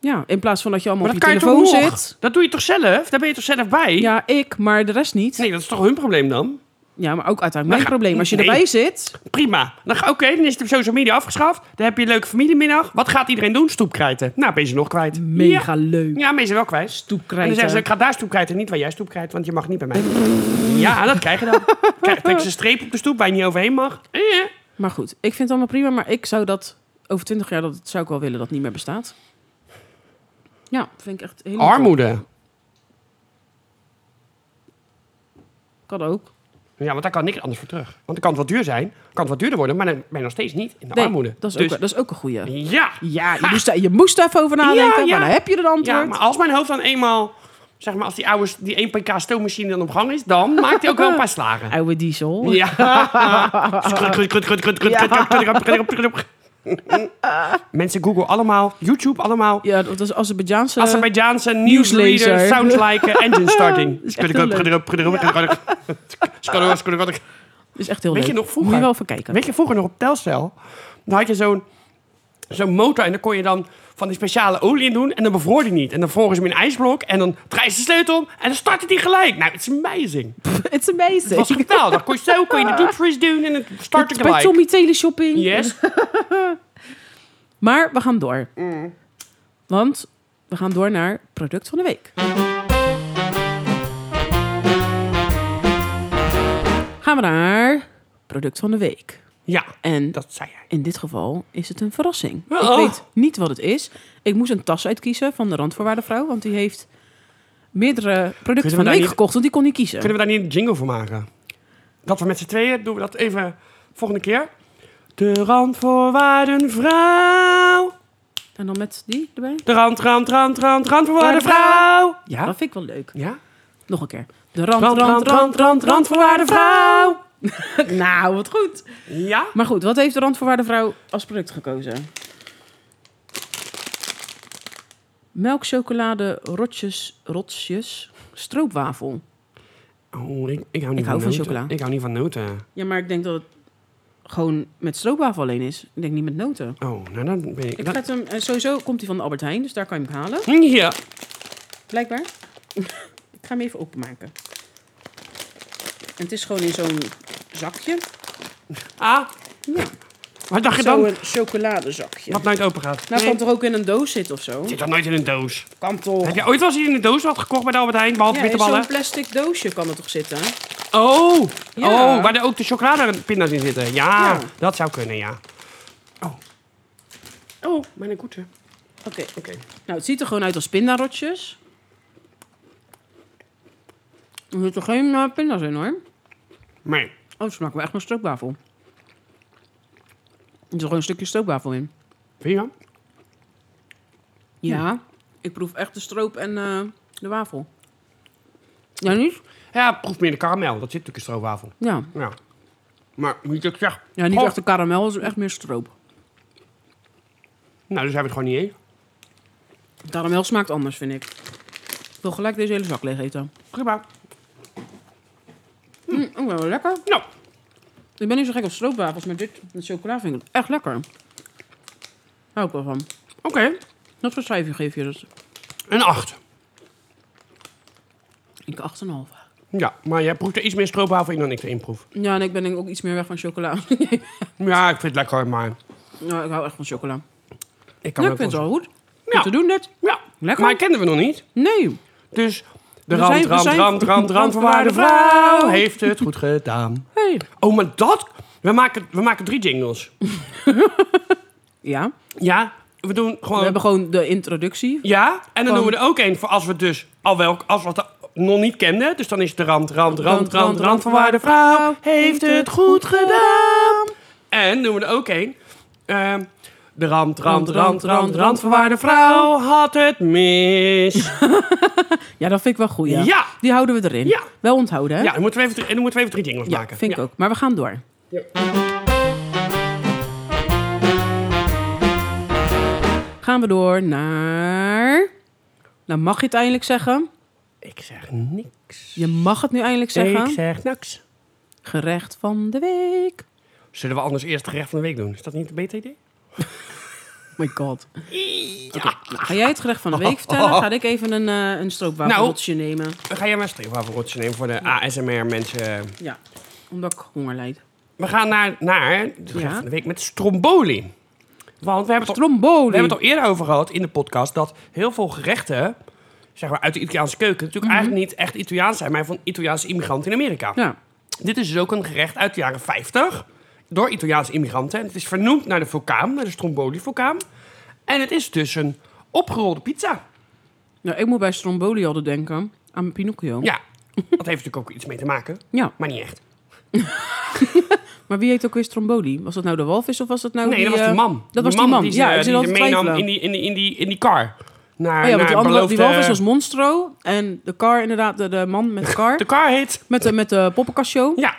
Ja, in plaats van dat je allemaal
Maar dat
op je
kan je
telefoon
toch nog?
zit.
Dat doe je toch zelf? Daar ben je toch zelf bij?
Ja, ik, maar de rest niet.
Nee, dat is toch hun probleem dan?
Ja, maar ook uiteindelijk mijn
Maar ga-
probleem. Als je
nee.
erbij zit,
Prima. Dan ga- Oké, dan is de social media afgeschaft. Dan heb je een leuke familiemiddag. Wat gaat iedereen doen? Stoepkrijten. Nou, ben je ze nog kwijt.
mega leuk.
Ja, ja ben je ze wel kwijt. En dan
Stoepkrijten.
zeggen ze, ik ga daar stoep krijten, niet waar jij stoep krijt, want je mag niet bij mij. ja, dat krijg je dan. Krijg, trek ze een streep op de stoep waar je niet overheen mag. Eh, eh.
Maar goed, ik vind het allemaal prima. Maar ik zou dat over 20 jaar, dat zou ik wel willen dat het niet meer bestaat. Ja, vind ik echt heel
Armoede.
Kan ook.
Ja, want daar kan niks anders voor terug. Want dan kan het wel duur zijn, kan het wat duurder worden, maar dan ben je nog steeds niet in de
Nee,
armoede.
Dat is,
Dus-
ook, dat is ook een goeie.
Ja.
Ja, je moest, daar- je moest daar even over nadenken,
ja.
maar dan heb je het antwoord.
ja, maar als mijn hoofd dan eenmaal, zeg maar, als die oude die 1pk stoommachine dan op gang is, dan maakt hij ook wel een paar slagen.
Oude diesel.
Ja. Krut, krut, krut, krut, krut, krut, krut, krut, krut, krut, krut, krut, krut. Mensen Google allemaal, YouTube allemaal,
Ja, dat is Azerbeidjaanse...
Azerbeidjaanse
nieuwslezer.
newsleader sounds like eh, engine starting.
is echt heel is echt heel
Weet
leuk.
je nog vroeger?
Moet je wel even kijken.
Weet je vroeger nog op Telcel? Dan had je zo'n zo'n motor en dan kon je dan van die speciale olie in doen en dan bevroor die niet. En dan vroegen ze hem in een ijsblok en dan draaien ze de sleutel om en dan startte die gelijk. Nou, it's amazing.
It's amazing.
Het was geweldig. Dan kon je zo kon je de diepvries doen en het startte
Het is bij
gelijk.
Tommy Teleshopping.
Yes.
Maar we gaan door.
Mm.
Want we gaan door naar product van de week. Gaan we naar product van de week.
Ja,
En
dat zei jij.
in dit geval is het een verrassing.
Oh.
Ik weet niet wat het is. Ik moest een tas uitkiezen van de Randvoorwaardenvrouw. Want die heeft meerdere producten van
we
de
daar
week
niet-
gekocht. Want die kon niet kiezen.
Kunnen we daar niet een jingle voor maken? Dat we met z'n tweeën doen we dat even volgende keer. De randvoorwaardenvrouw.
En dan met die erbij.
De rand, rand, rand, rand, randvoorwaardenvrouw. Ja?
Dat vind ik wel leuk.
Ja?
Nog een keer. De rand,
Rand, rand, rand, rand, randvoorwaardenvrouw.
Nou, wat goed.
Ja?
Maar goed, wat heeft de randvoorwaardenvrouw als product gekozen? Melk, chocolade, rotjes, rotsjes, stroopwafel.
Oh, ik, ik hou niet
Ik hou van
noten.
chocola.
Ik hou niet van noten.
Ja, maar ik denk dat het gewoon met stroopwafel alleen is. Ik denk niet met noten.
Oh, nou dan ben ik... Hm,
Ik
dat-
vet hem, eh, sowieso komt hij van de Albert Heijn, dus daar kan je hem halen.
Ja.
Blijkbaar. ik ga hem even openmaken. En het is gewoon in zo'n zakje.
Ah. Wat dacht je dan?
Zo'n chocoladezakje.
Wat nooit open gaat.
Nou,
Nee.
kan toch ook in een doos zitten of zo?
Zit dat nooit in een doos?
Kan toch?
Heb jij ooit wel eens iets in een doos wat gekocht bij de Albert Heijn? Behalve
Ja, in
bitterballen?
zo'n plastic doosje kan het toch zitten?
Oh,
Ja.
oh, waar er ook de chocoladepinda's in zitten. Ja,
Ja.
dat zou kunnen, ja. Oh. Oh, mijn koetje.
Oké.
Oké.
Nou, het ziet er gewoon uit als pindarotjes. Er zitten geen eh, pinda's in hoor.
Nee.
Oh, het smaakt wel echt naar stroopwafel. Er zit gewoon een stukje stroopwafel in.
Vind je wel?
Ja. Ik proef echt de stroop en eh, de wafel. Ja, niet?
Ja, proef meer de karamel. Dat zit natuurlijk in stroopwafel.
Ja.
Ja. Maar moet je ook zeggen.
Ja, niet
Goh.
echt de karamel, het is echt meer stroop.
Nou, dus hebben we het gewoon niet eens.
Karamel smaakt anders, vind ik. Ik wil gelijk deze hele zak leeg eten.
Prima.
Mm, ook wel lekker.
Nou,
Ik ben niet zo gek op stroopwafels, maar dit met chocola vind ik het echt lekker. Hou ik wel van.
oké.
Wat voor cijfer geef je dus? dat?
Een 8.
Ik 8,5.
Ja, maar jij proeft er iets meer stroopwafel in dan ik erin proef.
Ja, en ik ben denk ik ook iets meer weg van chocola.
Ja, ik vind het lekker, maar...
nou, ik hou echt van chocola.
Ik kan
Nou, ik
ook
vind het
wel-
wel goed.
Ja.
Goed te doen dit.
Ja,
Lekker.
maar kenden we nog niet.
Nee.
Dus de
We
rand,
zijn- we
rand,
zijn-
rand, rand, rand, verwaarde
Randvoorwaarde
vrouw
vrouw.
heeft het goed gedaan.
Hey.
Oh, maar dat... We maken, we maken drie jingles.
Ja,
Ja, we doen
we
gewoon...
hebben gewoon de introductie.
Ja, en dan
Gewoon-
doen we er ook één voor als we het dus al wel... Als we het nog niet kenden. Dus dan is het de rand, rand, rand, rand, rand, verwaarde vrouw heeft het goed gedaan. En doen we er ook één. ehm, De rand, rand, rand, rand, randverwaarde vrouw had het mis.
Ja, dat vind ik wel goed. Ja.
Ja.
Die houden we erin.
Ja.
Wel onthouden, hè?
Ja, dan moeten we even, drie- dan moeten we even drie jingles
Ja,
maken.
vind ik
Ja.
ook. Maar we gaan door.
Ja.
Gaan we door naar... Nou mag je het eindelijk zeggen.
Ik zeg niks.
Je mag het nu eindelijk
Ik
zeggen.
zeg niks.
Gerecht van de week.
Zullen we anders eerst het gerecht van de week doen? Is dat niet een beter idee? Oh
my god. Ga jij het gerecht van de week vertellen?
Oh.
Ga ik even een, eh een stroopwafelrotje nemen.
Dan ga jij maar streepwafelrotje nemen voor de ASMR-mensen.
Ja, omdat ik honger lijd.
We gaan naar, naar het gerecht
Ja.
van de week met stromboli. Want we hebben, het al,
Tromboli.
we hebben het al eerder over gehad in de podcast... dat heel veel gerechten zeg maar, uit de Italiaanse keuken... natuurlijk eigenlijk niet echt Italiaans zijn... maar van Italiaanse immigranten in Amerika.
Mhm. Ja,
Dit is dus ook een gerecht uit de jaren 50 door Italiaanse immigranten. En het is vernoemd naar de vulkaan, naar de Stromboli-vulkaan. En het is dus een opgerolde pizza.
nou, ik moet bij Stromboli altijd denken aan Pinocchio.
Ja, dat heeft natuurlijk ook iets mee te maken,
Ja,
maar niet echt.
maar wie heet ook weer Stromboli? Was dat nou de walvis of was dat nou
Nee,
die...
dat was
eh,
de man.
Dat was die man.
die ze,
ja, ik zit
die
altijd te
ze meenam
twijfelen.
in die, in, die, in, die, in die car. Naar,
Oh ja,
naar
want die, andere, die
beloofde-
walvis was Monstro. En de car inderdaad, de, de man met de car.
De car heet...
Met de, met de poppenkastshow.
Ja,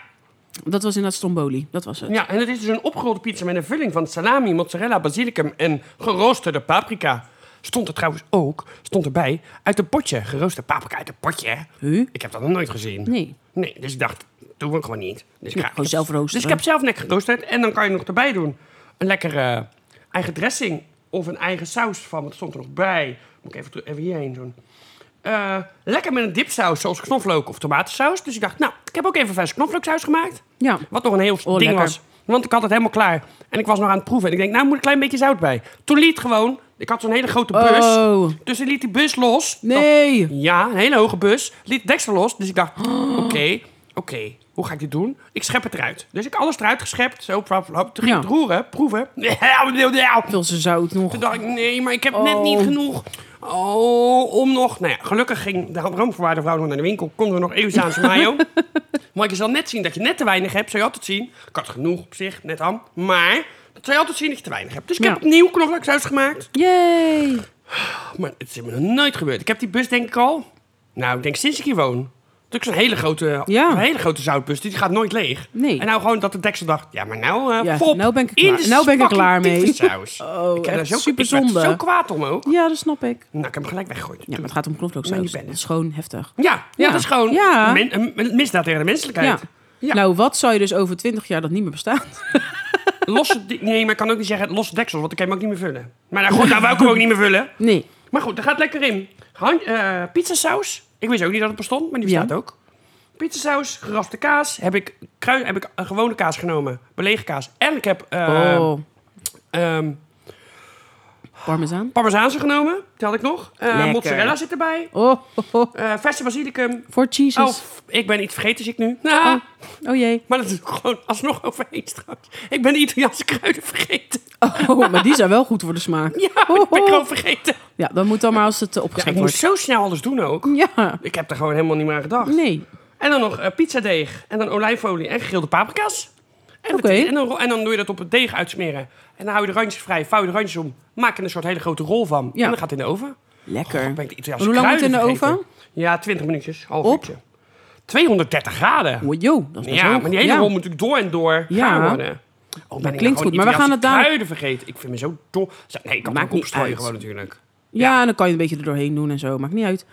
Dat was inderdaad Stromboli. Dat was het.
ja, en het is dus een opgerolde pizza met een vulling van salami, mozzarella, basilicum en geroosterde paprika. Stond er trouwens ook, stond erbij, uit een potje. Geroosterde paprika uit een potje, hè?
Huh?
Ik heb dat nog nooit gezien.
Nee.
Nee, dus ik dacht, doen we gewoon niet. Dus ik
Ja,
ga-
gewoon zelf roosteren.
Dus ik heb zelf lekker geroosterd. En dan kan je nog erbij doen een lekkere eh, eigen dressing of een eigen saus van. Want er stond er nog bij. Moet ik even, teru- even hierheen doen. Eh, lekker met een dipsaus, zoals knoflook of tomatensaus. Dus ik dacht, nou, ik heb ook even verse knoflooksaus gemaakt.
Ja.
Wat nog een heel ding
Oh, lekker.
was. Want ik had het helemaal klaar. En ik was nog aan het proeven. En ik denk, nou moet ik een klein beetje zout bij. Toen liet gewoon, ik had zo'n hele grote bus.
Oh.
Dus ik liet die bus los.
Nee.
Ja, een hele hoge bus. Liet het deksel los. Dus ik dacht, oké, oké, hoe ga ik dit doen? Ik schep het eruit. Dus ik alles eruit geschept. Zo, plap, plap. Toen ging
Ja.
ik het roeren, proeven. Toen
Veel ze zout nog.
dacht ik, nee, maar ik heb net niet genoeg. Oh, om nog. Nou ja, gelukkig ging de roomverwaarde vrouw nog naar de winkel. Konden we nog Eeuwzaanse mayo. Maar je zal net zien dat je net te weinig hebt. Zou je altijd zien. Ik had genoeg op zich, net ham. Maar dat zou je altijd zien dat je te weinig hebt. Dus ik
Ja.
heb opnieuw knoflooksaus gemaakt.
Yay.
Maar het is me nog nooit gebeurd. Ik heb die bus denk ik al... Nou, ik denk sinds ik hier woon. Dat is een hele grote,
Ja.
een hele grote zoutbus. Die gaat nooit leeg.
Nee.
En nou gewoon dat de deksel dacht... Ja, maar nou... eh
Ja,
fop,
nou ben ik er
in
klaar-
de
nou ben ik er klaar mee.
fucking tyfussaus.
Oh,
ik heb daar
echt
zo,
superzonde.
Ik werd zo kwaad om ook.
Ja, dat snap ik.
Nou, ik heb hem gelijk weggegooid.
Ja,
Ja,
maar het gaat om
Maar
knoflooksaus.
je bent
Dat
het.
is gewoon heftig.
ja,
Ja.
dat is gewoon
Ja.
min- een een misdaad tegen de menselijkheid. Ja.
Nou, wat zou je dus over twintig jaar dat niet meer bestaat?
Losse, di- nee, maar ik kan ook niet zeggen losse deksel, want ik kan hem ook niet meer vullen. Maar nou goed, nou wou ik hem ook niet meer vullen.
Nee.
Maar goed, daar gaat lekker in. Han, eh, pizzasaus. Ik wist ook niet dat het bestond, maar die
Ja.
bestaat ook. Pizzasaus, geraspte kaas. Heb ik, krui, heb ik een gewone kaas genomen, belegen kaas. En ik heb eh
oh,
ehm,
parmezaan.
parmezaanse genomen. Die had ik nog. Eh,
Lekker.
mozzarella zit erbij.
Oh, oh, oh.
Eh verse basilicum.
Voor cheeses.
Oh, f- ik ben iets vergeten, zie ik nu. Ah,
Oh. Oh jee.
Maar dat is gewoon alsnog overheen straks. Ik ben de Italiaanse kruiden vergeten.
Oh, maar die zijn wel goed voor de smaak. Oh,
Ja, ik ben gewoon vergeten.
Ja, dan moet dan maar als het eh,
Ja, ik
opgeschikt
moest
wordt.
zo snel alles doen ook.
Ja.
Ik heb er gewoon helemaal niet meer aan gedacht.
Nee.
En dan nog eh, pizzadeeg. En dan olijfolie en gegrilde paprika's. En,
Oké.
dat- en, dan, ro- en dan doe je dat op het deeg uitsmeren. En dan hou je de randjes vrij, vouw je de randjes om. Maak er een soort hele grote rol van.
Ja.
En dan gaat het in de oven.
Lekker.
Ben ik de
En
Italiaanse
hoe lang moet het in de
kruiden
oven?
vergeten. Ja, 20 minuutjes. Half
Op?
uurtje. 230 graden.
Oh, joh, dat is best
Ja,
hoog.
maar die hele rol moet natuurlijk door en door
Ja.
gaan worden. Oh, ben ik
klinkt
nou
goed, maar we
gewoon
gaan het daar-
Italiaanse kruiden vergeten. Ik vind me zo dom. Nee, ik kan
Maakt
het ook
niet
opstrooien
uit.
gewoon natuurlijk.
Ja, en dan kan je een beetje er doorheen doen en zo. Maakt niet uit.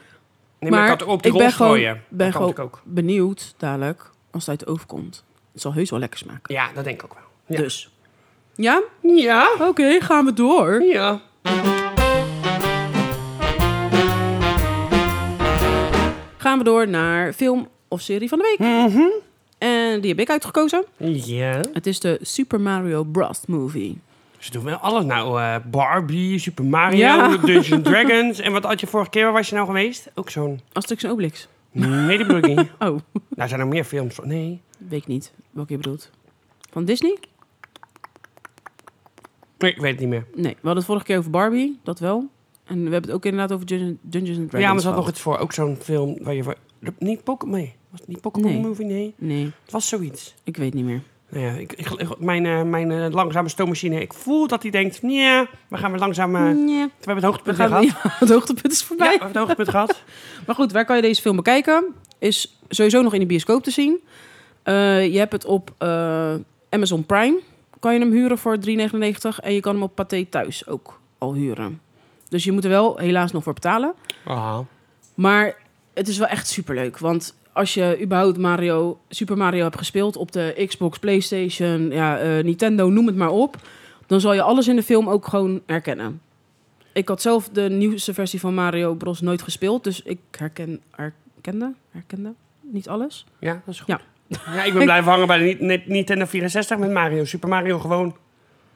Nee, maar, ik kan het ook op die
ik
rol
ben gewoon,
strooien.
ben
Dat kan
gewoon
natuurlijk ook.
benieuwd dadelijk als het uit de oven komt. Het zal heus wel lekker smaken.
Ja, dat denk ik ook wel. Ja.
Dus. Ja?
Ja.
Oké, gaan we door.
Ja.
Gaan we door naar film of serie van de week.
Mhm.
En die heb ik uitgekozen.
Ja.
Het is de Super Mario Bros. movie.
Ze doen wel alles nou. eh, Barbie, Super Mario,
Ja.
Dungeons and Dragons. En wat had je vorige keer, waar was je nou geweest? Ook zo'n...
Asterix en Obelix.
Nee, dat bedoel ik niet.
Oh,
Nou, zijn er meer films van? Nee.
weet ik niet welke je bedoelt. Van Disney?
Nee, ik weet het niet meer.
Nee, we hadden het vorige keer over Barbie, dat wel. En we hebben het ook inderdaad over Dun- Dungeons and Dragons.
ja, maar er zat
gehad.
nog iets voor. Ook zo'n film waar je voor... Niet Pokémon, nee. Was het niet Pokémon
Nee.
Movie? Nee.
Nee,
Het was zoiets.
ik weet niet meer.
Nou ja, ik, ik- mijn, eh, mijn eh, langzame stoommachine, ik voel dat hij denkt, nee, we gaan weer langzaam... eh,
Nee.
we hebben het
We
hoogtepunt weer
gaan,
gehad.
ja, het hoogtepunt is
Ja, we
voorbij.
hebben het hoogtepunt gehad.
Maar goed, waar kan je deze film bekijken? Is sowieso nog in de bioscoop te zien. Eh, je hebt het op eh, Amazon Prime. Kan je hem huren voor 3,99. En je kan hem op Pathé thuis ook al huren. Dus je moet er wel helaas nog voor betalen. Maar het is wel echt superleuk. Want als je überhaupt Mario, Super Mario hebt gespeeld op de Xbox, PlayStation, ja, eh, Nintendo, noem het maar op. Dan zal je alles in de film ook gewoon herkennen. Ik had zelf de nieuwste versie van Mario Bros. nooit gespeeld. Dus ik herken, herkende, herkende niet alles.
Ja, dat is goed.
Ja.
Ja, ik ben blijven hangen bij de Ni- Ni- Nintendo 64 met Mario. Super Mario gewoon.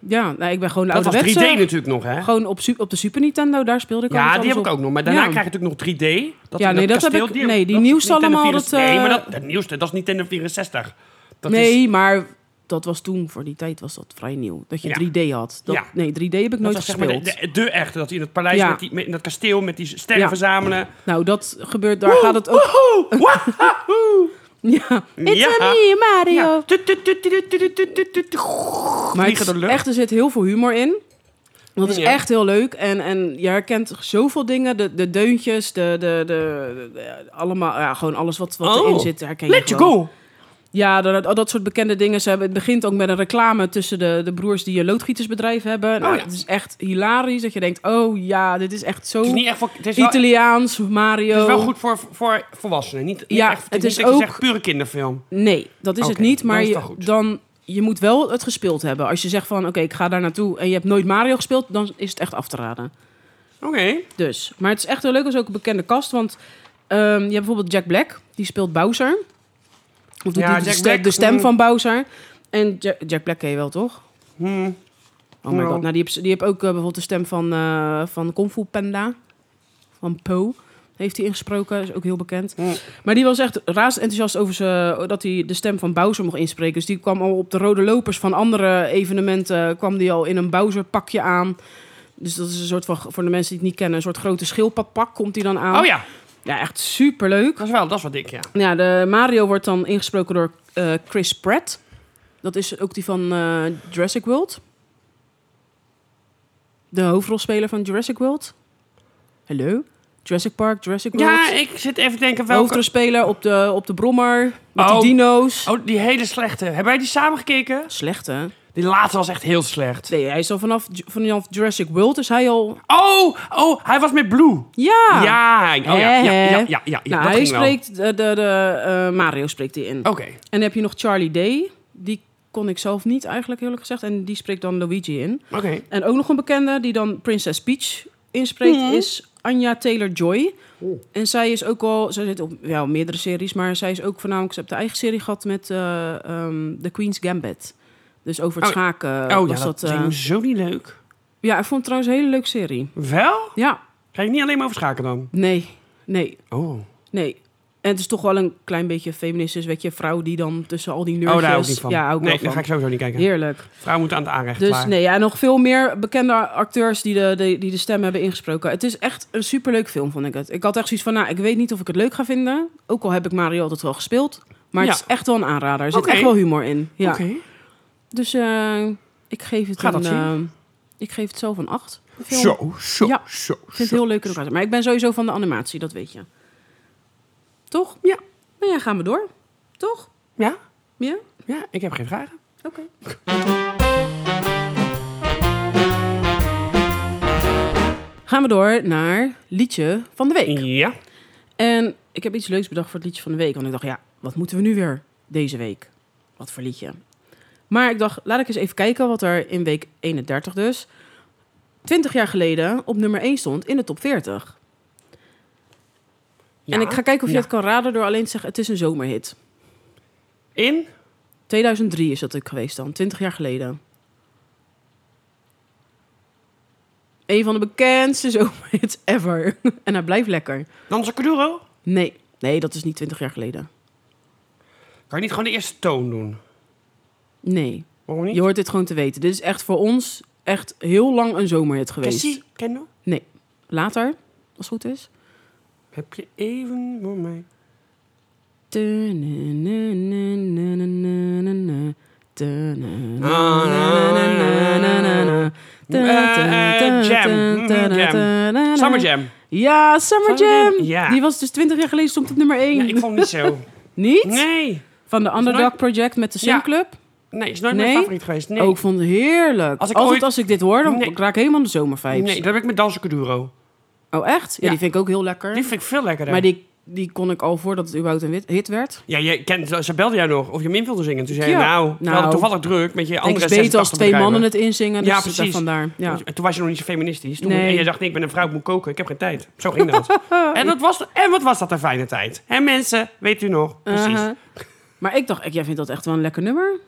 Ja, nou, ik ben gewoon de
Dat was 3D
ouderwetse.
natuurlijk nog, hè?
Gewoon op, su- op de Super Nintendo, daar speelde ik al
Ja,
alles
die heb
op.
ik ook nog. Maar daarna
Ja.
krijg je natuurlijk nog 3D. Dat
Ja,
in
nee, dat heb
kasteel,
ik- nee, die
dat is
nieuwste
Nintendo
allemaal,
64.
dat, eh,
Nee, maar dat, dat nieuwste, dat is Nintendo 64. Dat
nee,
is,
maar dat was toen, voor die tijd was dat vrij nieuw. Dat je
Ja.
3D had. Dat,
Ja.
Nee, 3D heb ik
dat
nooit
was zeg maar
gespeeld.
de, de, de echte. Dat hij in het paleis,
Ja.
met die, met- in dat kasteel, met die sterren
Ja.
verzamelen.
Nou, dat gebeurt, daar gaat het ook...
Woehoe! Wahoe!
Ja, it's
Ja.
a me, Mario.
Ja. Tut, tut, tut, tut, tut, tut, tut, tut.
Maar
Vliegen
het
de
is
lucht.
echt, er zit heel veel humor in. Dat is
Ja.
echt heel leuk. En, en je herkent zoveel dingen. De, de deuntjes, de, de, de, de- allemaal, ja, gewoon alles wat, wat
Oh.
erin zit herken je
Let you
gewoon.
go!
Ja, dat, dat- dat soort bekende dingen. Ze hebben, het begint ook met een reclame tussen de, de broers die een loodgietersbedrijf hebben. Nou,
Oh ja.
Het is echt hilarisch dat je denkt, oh ja, dit is echt zo
Het is niet echt voor... Het is wel,
Italiaans, Mario.
het is wel goed voor, voor volwassenen. Niet, niet
Ja,
echt, het
het is
is niet dat je
ook-
zegt pure kinderfilm.
Nee, dat is het
Oké,
niet.
dan
Maar
is
je,
dat goed.
dan, je moet wel het gespeeld hebben. Als je zegt van, oké, ik ga daar naartoe en je hebt nooit Mario gespeeld, dan is het echt af te raden.
Oké.
Dus, maar het is echt heel leuk. Het is ook een bekende kast, want ehm, je hebt bijvoorbeeld Jack Black. Die speelt Bowser. Of doet
Ja,
de,
Jack
ste-
Black,
de stem
mm.
van Bowser. En Ja- Jack Black ken je wel, toch?
Hmm.
Oh my
Ja.
god. Nou, die heeft die heb ook eh, bijvoorbeeld de stem van, eh van Kung Fu Panda. Van Po. Heeft hij ingesproken. Is ook heel bekend.
Mm.
Maar die was echt razend enthousiast over ze, dat hij de stem van Bowser mocht inspreken. Dus die kwam al op de rode lopers van andere evenementen. eh, kwam die al in een Bowser pakje aan. Dus dat is een soort van, voor de mensen die het niet kennen, een soort grote schildpadpak komt hij dan aan.
Oh ja,
Ja, echt superleuk.
dat is wel, dat is wel dik, ja.
Ja, de Mario wordt dan ingesproken door eh, Chris Pratt. Dat is ook die van eh, Jurassic World. De hoofdrolspeler van Jurassic World. Hallo? Jurassic Park, Jurassic World.
Ja, ik zit even te denken welke...
Hoofdrolspeler op de, op de brommer. Met
Oh.
die dino's.
Oh, die hele slechte. Hebben wij die samen gekeken?
Slecht, hè?
Die laatste was echt heel slecht.
Nee, hij is al vanaf, Ju- vanaf Jurassic World is hij al...
Oh, oh, hij was met Blue.
Ja!
Ja, oh, ja, ja,
Ah. Hè?
ja, ja, ja, ja,
nou, hij
dat ging wel. Oh.
spreekt... De, de, de, eh, Mario spreekt hij in.
Oké.
En dan heb je nog Charlie Day. Die kon ik zelf niet eigenlijk, eerlijk gezegd. En die spreekt dan Luigi in.
Oké.
En ook nog een bekende die dan Princess Peach inspreekt
Mhm.
is Anja Taylor-Joy. En zij is ook al, zij zit op wel meerdere series, maar zij is ook voornamelijk, ze heeft de eigen serie gehad met eh, ehm, The Queen's Gambit. Dus over het
Oh,
schaken
oh,
was
ja, dat
dat.
ging
eh,
zo niet leuk.
ja, ik vond het trouwens een hele leuke serie.
Wel?
Ja,
Ga ik niet alleen maar over schaken dan?
nee, nee,
Oh,
nee. En het is toch wel een klein beetje feministisch, weet je, vrouw die dan tussen al die
oh
nerdjes...
daar hou ik niet van.
Ja, hou ik
nee,
wel
daar ga
van.
ik sowieso niet kijken.
Heerlijk.
Vrouw moet aan het aanrecht
Dus
klaar.
nee, ja, nog veel meer bekende acteurs die de, de- die de stem hebben ingesproken. Het is echt een superleuk film, vond ik het. Ik had echt zoiets van, nou, ik weet niet of ik het leuk ga vinden. Ook al heb ik Mario altijd wel gespeeld. Maar het
Ja.
is echt wel een aanrader. Er zit
Oké.
echt wel humor in. Ja.
Oké.
Dus eh, ik geef het
Ga dat
een...
zien.
eh, ik geef het zelf een 8.
Zo, zo,
Ja.
zo.
Ik vind het heel leuk in elkaar. zitten. Maar ik ben sowieso van de animatie, dat weet je. Toch?
Ja.
Nou ja, gaan we door. Toch?
Ja?
Ja?
Ja, ik heb geen vragen.
Oké. Gaan we door naar liedje van de week.
Ja.
En ik heb iets leuks bedacht voor het liedje van de week. Want ik dacht, ja, wat moeten we nu weer deze week? Wat voor liedje? Maar ik dacht, laat ik eens even kijken wat er in week 31 dus... 20 jaar geleden op nummer 1 stond in de top 40. En
Ja.
ik ga kijken of je
Ja.
het kan raden door alleen te zeggen... het is een zomerhit.
In?
2003 is dat ik geweest dan, 20 jaar geleden. Een van de bekendste zomerhits ever. En hij blijft lekker.
Danse Caduro?
Nee, nee, dat is niet 20 jaar geleden.
Kan je niet gewoon de eerste toon doen?
Nee,
Waarom niet?
je hoort dit gewoon te weten. Dit is echt voor ons echt heel lang een zomerhit geweest.
Cassie, Kendall?
Nee, later, als het goed is.
Heb je even voor mij?
Tu-nu-nu-nu-nu-nu-nu. Tu-nu-nu-nu-nu-nu.
eh, Jam. Mhm, Jam. Summer Jam.
Ja, Summer
Summer Jam,
Jam.
ja.
Die was dus 20 jaar geleden stond op nummer
Ja,
1.
ik vond het niet zo.
Niet?
Nee.
Van de Underdog
nooit-
Project met de Sun
Ja.
Club.
Nee, is nooit
Nee?
mijn favoriet geweest. Nee.
Ook vond het heerlijk.
Als ik
Altijd
ooit-
als ik dit hoor, dan
Nee.
raak ik helemaal de zomervibes.
nee, dat heb ik met Dansen Kuduro.
Oh, echt? Ja,
Ja.
die vind ik ook heel lekker.
Die vind ik veel lekkerder.
Maar die, die kon ik al voordat het überhaupt een wit- hit werd.
Ja, je kent, ze belde jou nog of je min wilde zingen. Toen zei je,
Ja.
nou, we hadden
Nou,
toevallig druk met je
Ik
andere
is beter als
86
twee
bedrijven.
mannen het inzingen. Dus
Ja,
dat is
precies.
Vandaar. Ja.
Want Toen was je nog niet zo feministisch. Toen
Nee.
en je dacht, nee, ik ben een vrouw, ik moet koken, ik heb geen tijd. Zo ging dat. en, dat was, en wat was dat een fijne tijd. Hè mensen, weet u nog? Precies.
Uh-huh. Maar ik dacht, ik, jij vindt dat echt wel een lekker nummer.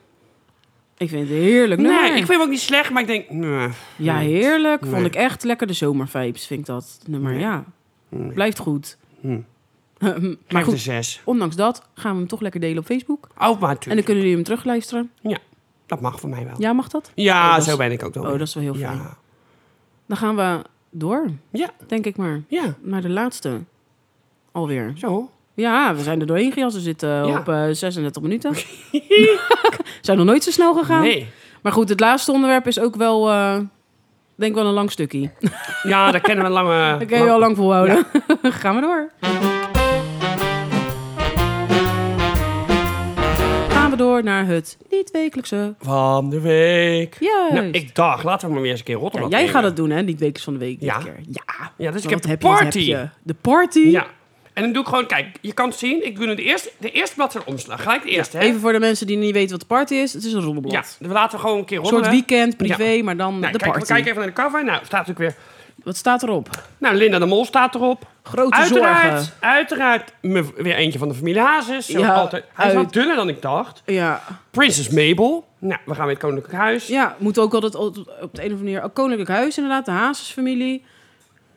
Ik vind het een heerlijk
Nee,
nummer.
ik vind hem ook niet slecht, maar ik denk, nee.
Ja, heerlijk. Vond
Nee.
ik echt lekker de zomervibes, vind ik dat nummer. Ja,
hmm,
blijft goed.
maar
Maar
de
goed,
zes.
ondanks dat gaan we hem toch lekker delen op Facebook.
Oh, maar
En dan
natuurlijk.
kunnen jullie hem terugluisteren.
Ja, dat mag voor mij wel. Ja,
Ja, mag dat? Oh, dat is-
zo ben ik ook dan.
Oh, dat is wel heel fijn.
Ja.
Dan gaan we door,
ja,
denk ik maar.
ja,
Naar de laatste. Alweer.
zo.
Ja, we zijn er doorheen gejast. We zitten
Ja.
op eh 36 minuten. zijn nog nooit zo snel gegaan.
Nee.
Maar goed, het laatste onderwerp is ook wel... eh, denk ik wel een lang stukje.
Ja, daar kennen we een lange...
Dat kun je wel lang volhouden. Gaan we door. Gaan we door naar het niet-wekelijkse.
Van de week.
Juist.
Nou, ik dacht, laten we maar weer eens een keer
Ja,
Rotterdam
jij
nemen.
gaat het doen, hè? Niet-wekelijks van de week. dit
Ja.
Keer. Ja.
Ja, dus ik
Want
heb
wat
de
je, wat
party.
je? De party?
Ja. En dan doe ik gewoon, kijk, je kan het zien. Ik doe nu de eerste, de eerste blad zijn omslag. Gelijk de eerste, hè?
Even voor de mensen die niet weten wat de party is. Het is een roddelblad.
Ja, dan laten we gewoon een keer
Een soort
roddelen.
weekend, privé, maar dan
Nou,
de
kijk,
party.
We kijken even naar de cover. Nou, staat natuurlijk weer...
Wat staat erop?
Nou, Linda de Mol staat erop.
Grote
uiteraard,
zorgen.
uiteraard me- weer eentje van de familie Hazes. Zoals
Ja,
altijd. Hij is
uit-
wat dunner dan ik dacht.
Ja.
Prinses Mabel. Nou, we gaan weer het Koninklijk Huis.
ja, moet ook altijd op de een of andere manier... ook Koninklijk Huis inderdaad, de Hazesfamilie.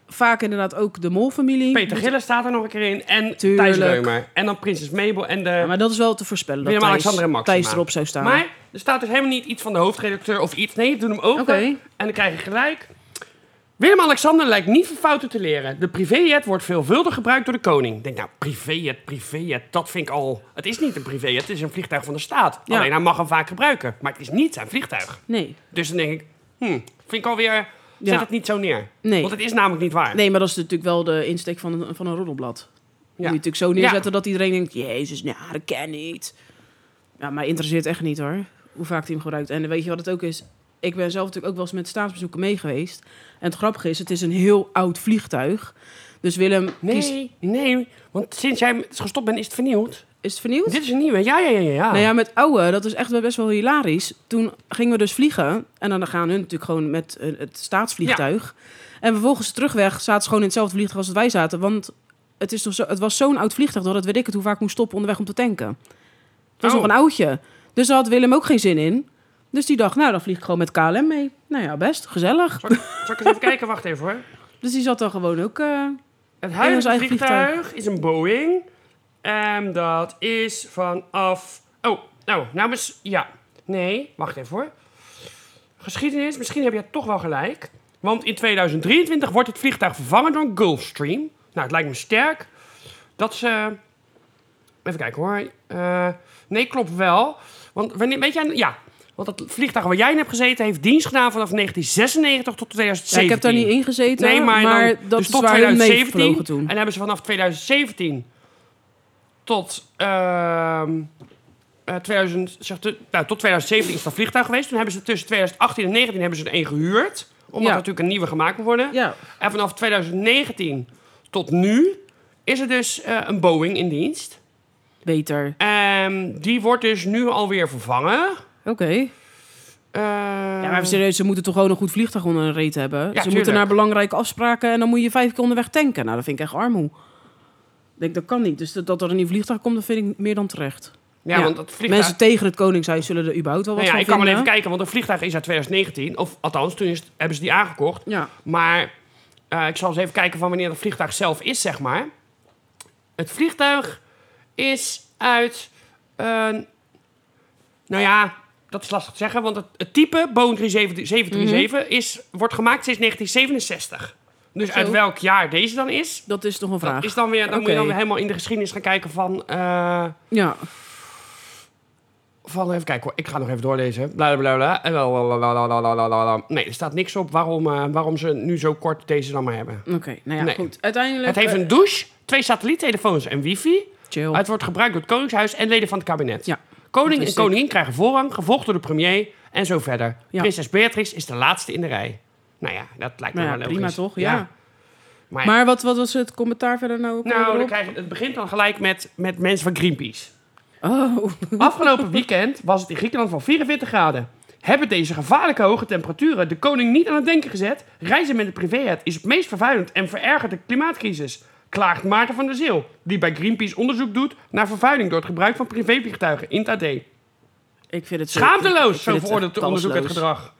Vaak inderdaad ook de Molfamilie.
Peter Gillis staat er nog een keer in. En
Tuurlijk.
Thijs Reumer. En dan Prinses Mabel en de...
Ja, maar dat is wel te voorspellen dat
Willem,
Thijs,
Alexander en Maxima.
Thijs erop zou staan.
Maar er staat dus helemaal niet iets van de hoofdredacteur of iets. Nee, doe hem open.
Oké.
En dan krijg je gelijk. Willem-Alexander lijkt niet van fouten te leren. De privéjet wordt veelvuldig gebruikt door de koning. Ik denk, nou, privéjet, privéjet, dat vind ik al... Het is niet een privéjet, het is een vliegtuig van de staat.
Ja.
Alleen hij mag hem vaak gebruiken. Maar het is niet zijn vliegtuig.
Nee.
Dus dan denk ik, hm, vind ik alweer... Zet
Ja.
het niet zo neer.
Nee.
Want het is namelijk niet waar.
nee, maar dat is natuurlijk wel de insteek van een, van een roddelblad. Moet je natuurlijk zo neerzetten dat iedereen denkt... Jezus, nou, dat ken niet. Ja, maar interesseert echt niet hoor. Hoe vaak hij hem gebruikt. En weet je wat het ook is? Ik ben zelf natuurlijk ook wel eens met staatsbezoeken mee geweest. En het grappige is, het is een heel oud vliegtuig. Dus Willem, kiest-
Nee, nee. Want sinds jij gestopt bent, is het vernieuwd.
is het vernieuwd?
Dit is een nieuwe. Ja, ja, ja, ja.
Nou ja, met ouwe, dat is echt wel best wel hilarisch. Toen gingen we dus vliegen. En dan gaan hun natuurlijk gewoon met eh, het staatsvliegtuig. En vervolgens de terugweg zaten ze gewoon in hetzelfde vliegtuig als dat wij zaten. Want het, is toch zo, het was zo'n oud vliegtuig dat het weet ik het hoe vaak moest stoppen onderweg om te tanken. Het was
Oh.
nog een oudje. Dus daar had Willem ook geen zin in. Dus die dacht, nou dan vlieg ik gewoon met KLM mee. Nou ja, best, gezellig.
Zal ik, zal ik eens even kijken? Wacht even hoor.
Dus die zat dan gewoon ook... eh,
Het
In ons
huidige
eigen
vliegtuig, is een Boeing. En dat is vanaf... Oh, nou, nou, mis- ja. Nee, wacht even hoor. Geschiedenis, misschien heb jij toch wel gelijk. Want in 2023 wordt het vliegtuig vervangen door een Gulfstream. Nou, het lijkt me sterk dat ze... Even kijken hoor. Eh, nee, klopt wel. Want wanneer, weet jij... Ja, want dat vliegtuig waar jij in hebt gezeten... heeft dienst gedaan vanaf 1996 tot
ja,
2017.
ik heb daar niet in gezeten,
Nee, maar,
maar,
dan,
dat
dus
is
tot
waar hun mee
2017.
vlogen
En
toen.
dan hebben ze vanaf 2017 tot, ehm eh, 2000, zegt de- nou, tot 2017 is dat vliegtuig geweest. Toen hebben ze tussen 2018 en 2019 hebben ze er één gehuurd. Omdat
Ja.
er natuurlijk een nieuwe gemaakt moet worden.
Ja,
En vanaf 2019 tot nu is er dus eh, een Boeing in dienst.
beter.
En die wordt dus nu alweer vervangen.
Oké.
Eh,
Ja, maar even serieus, ze moeten toch gewoon een goed vliegtuig onder een reet hebben. ze moeten
tuurlijk.
naar belangrijke afspraken en dan moet je vijf keer onderweg tanken. Nou, dat vind ik echt armoe. Ik denk, dat kan niet. Dus dat, dat er een nieuw vliegtuig komt, dat vind ik meer dan terecht.
ja,
Ja.
want dat vliegtuig...
Mensen tegen het Koningshuis zullen er überhaupt wel wat
Nou ja,
van
ik kan maar even
vinden.
kijken, want een vliegtuig is uit 2019. Of althans, toen is, het- hebben ze die aangekocht.
Ja,
Maar eh, ik zal eens even kijken van wanneer het vliegtuig zelf is, zeg maar. Het vliegtuig is uit. eh, nou ja, dat is lastig te zeggen, want het, het type Boeing 37- 737 is, wordt gemaakt sinds 1967. Dus uit
Zo.
welk jaar deze dan is,
dat is toch een vraag.
dat is dan weer, dan moet
Oké.
je dan weer helemaal in de geschiedenis gaan kijken van. eh,
Ja,
van even kijken hoor, ik ga nog even doorlezen. Bla bla bla. En wel, bla, bla, bla, bla, bla, bla. Nee, er staat niks op waarom, eh, waarom ze nu zo kort deze dan maar hebben.
Oké, nou ja,
Nee.
goed. Uiteindelijk...
Het heeft
eh,
een douche, twee satelliettelefoons en wifi.
chill.
Het wordt gebruikt door het Koningshuis en leden van het kabinet.
Ja.
Koning
Dat
en
is
koningin krijgen voorrang, gevolgd door de premier en zo verder.
Ja.
Prinses Beatrix is de laatste in de rij. Nou ja, dat lijkt me
Nou ja,
wel
prima
logisch.
toch? Ja.
Maar,
Maar wat, wat was het commentaar verder nou? ook
nou, dan
alweer op?
krijg je, het begint dan gelijk met, met mensen van Greenpeace.
Oh,
Afgelopen weekend was het in Griekenland van 44 graden. Hebben deze gevaarlijke hoge temperaturen de koning niet aan het denken gezet? Reizen met de privéjet is het meest vervuilend en verergert de klimaatcrisis. Klaagt Maarten van der Zeel, die bij Greenpeace onderzoek doet naar vervuiling door het gebruik van privévliegtuigen in het AD.
ik vind het zo- ik
Schaamteloos,
vind
zo
het echt
veroordeelt het onderzoek het
kansloos.
gedrag.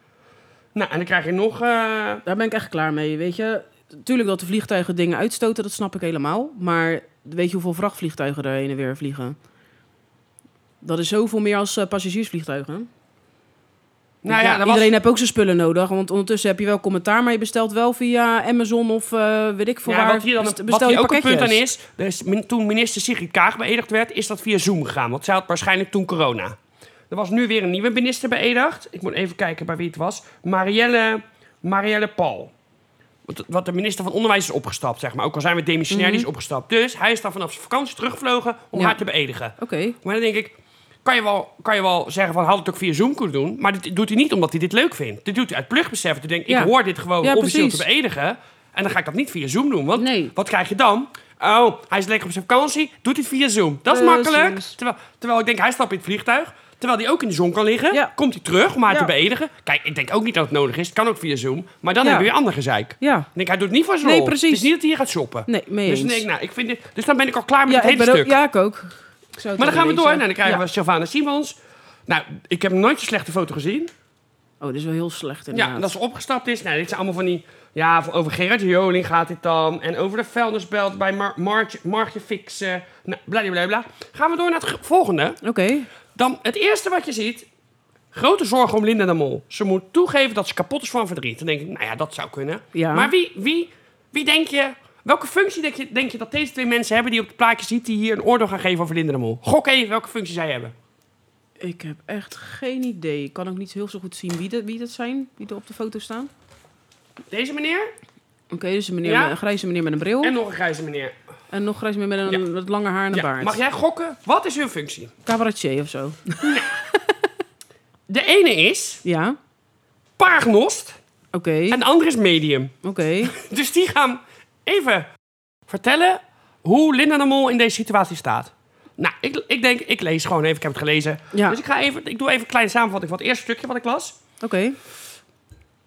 Nou, en dan krijg je nog... eh,
Daar ben ik echt klaar mee, weet je. Tuurlijk dat de vliegtuigen dingen uitstoten, dat snap ik helemaal. Maar weet je hoeveel vrachtvliegtuigen er heen en weer vliegen? Dat is zoveel meer als eh, passagiersvliegtuigen.
nou ja,
Ja,
dat was-
iedereen heeft ook zijn spullen nodig. Want ondertussen heb je wel commentaar, maar je bestelt wel via Amazon of eh, weet ik veel
Ja,
waar.
wat hier, dan,
Best-
wat
bestel
hier
je
ook een punt aan
pakketjes.
is, dus min- toen minister Sigrid Kaag beëdigd werd, is dat via Zoom gegaan. Want zij had waarschijnlijk toen corona. Er was nu weer een nieuwe minister beëdigd. Ik moet even kijken bij wie het was. Marielle, Marielle Paul. Wat, wat de minister van Onderwijs is opgestapt, zeg maar. Ook al zijn we demissionair, die is opgestapt. Dus hij is daar vanaf zijn vakantie teruggevlogen om
Mhm. Ja.
haar te beëdigen.
Oké,
Maar dan denk ik, kan je wel, kan je wel zeggen van had het ook via Zoom kunnen doen. Maar dit doet hij niet omdat hij dit leuk vindt. Dit doet hij uit plichtbesef. Hij denkt,
Ja.
ik hoor dit gewoon
Ja,
officieel
precies.
te beëdigen. En dan ga ik dat niet via Zoom doen. Want
Nee.
wat krijg je dan? Oh, hij is lekker op zijn vakantie, doet dit via Zoom. Dat is
Precies.
makkelijk. Terwijl, terwijl ik denk, hij stapt in het vliegtuig. Terwijl hij ook in de zon kan liggen.
Ja.
Komt hij terug om haar
Ja.
te beëdigen. Kijk, ik denk ook niet dat het nodig is. Het kan ook via Zoom. Maar dan
Ja.
heb je weer ander gezeik. Ik
ja.
denk, hij doet het niet voor zijn
Nee,
rol.
precies.
Het is niet dat hij hier gaat shoppen.
Nee, mee
Dus,
eens.
dan denk ik, nou, ik vind dit, dus dan ben ik al klaar met
ja, ik
het hele
ben
stuk.
ook, ja, ik ook. Ik zou het
Maar dan
wel
gaan we
lezen.
door. Nou, dan krijgen
Ja.
we Sylvana Simons. Nou, ik heb nooit zo'n slechte foto gezien.
Oh, dit is wel heel slecht
Ja,
inderdaad.
dat ze opgestapt is. Nou, dit zijn allemaal van die... Ja, over Gerard Joling gaat dit dan. En over de vuilnisbelt bij Mar Martje- Martje Fixen. Nou, blablabla. Gaan we door naar het ge- volgende.
Oké,
Dan het eerste wat je ziet... Grote zorgen om Linda de Mol. Ze moet toegeven dat ze kapot is van verdriet. Dan denk ik, nou ja, dat zou kunnen.
Ja.
Maar wie, wie, wie denk je... Welke functie denk je, denk je dat deze twee mensen hebben... die op het plaatje ziet die hier een oordeel gaan geven over Linda de Mol? Gok even welke functie zij hebben.
ik heb echt geen idee. Ik kan ook niet heel zo goed zien wie dat, wie dat zijn, die er op de foto staan.
Deze meneer?
Oké, dus een, meneer
Ja.
met- een grijze meneer met een bril.
En
En,
nog een grijze meneer.
nog grijze meneer met een wat langer haar en een
Ja,
baard.
Mag jij gokken? Wat is hun functie?
Cabaretier of zo.
De ene is
Ja,
paragnost
oké.
en de andere is medium.
Oké.
Dus die gaan even vertellen hoe Linda de Mol in deze situatie staat. Nou, ik, ik denk, ik lees gewoon even, ik heb het gelezen.
Ja.
Dus ik, ga even, ik doe even een kleine samenvatting van het eerste stukje wat ik las.
Oké.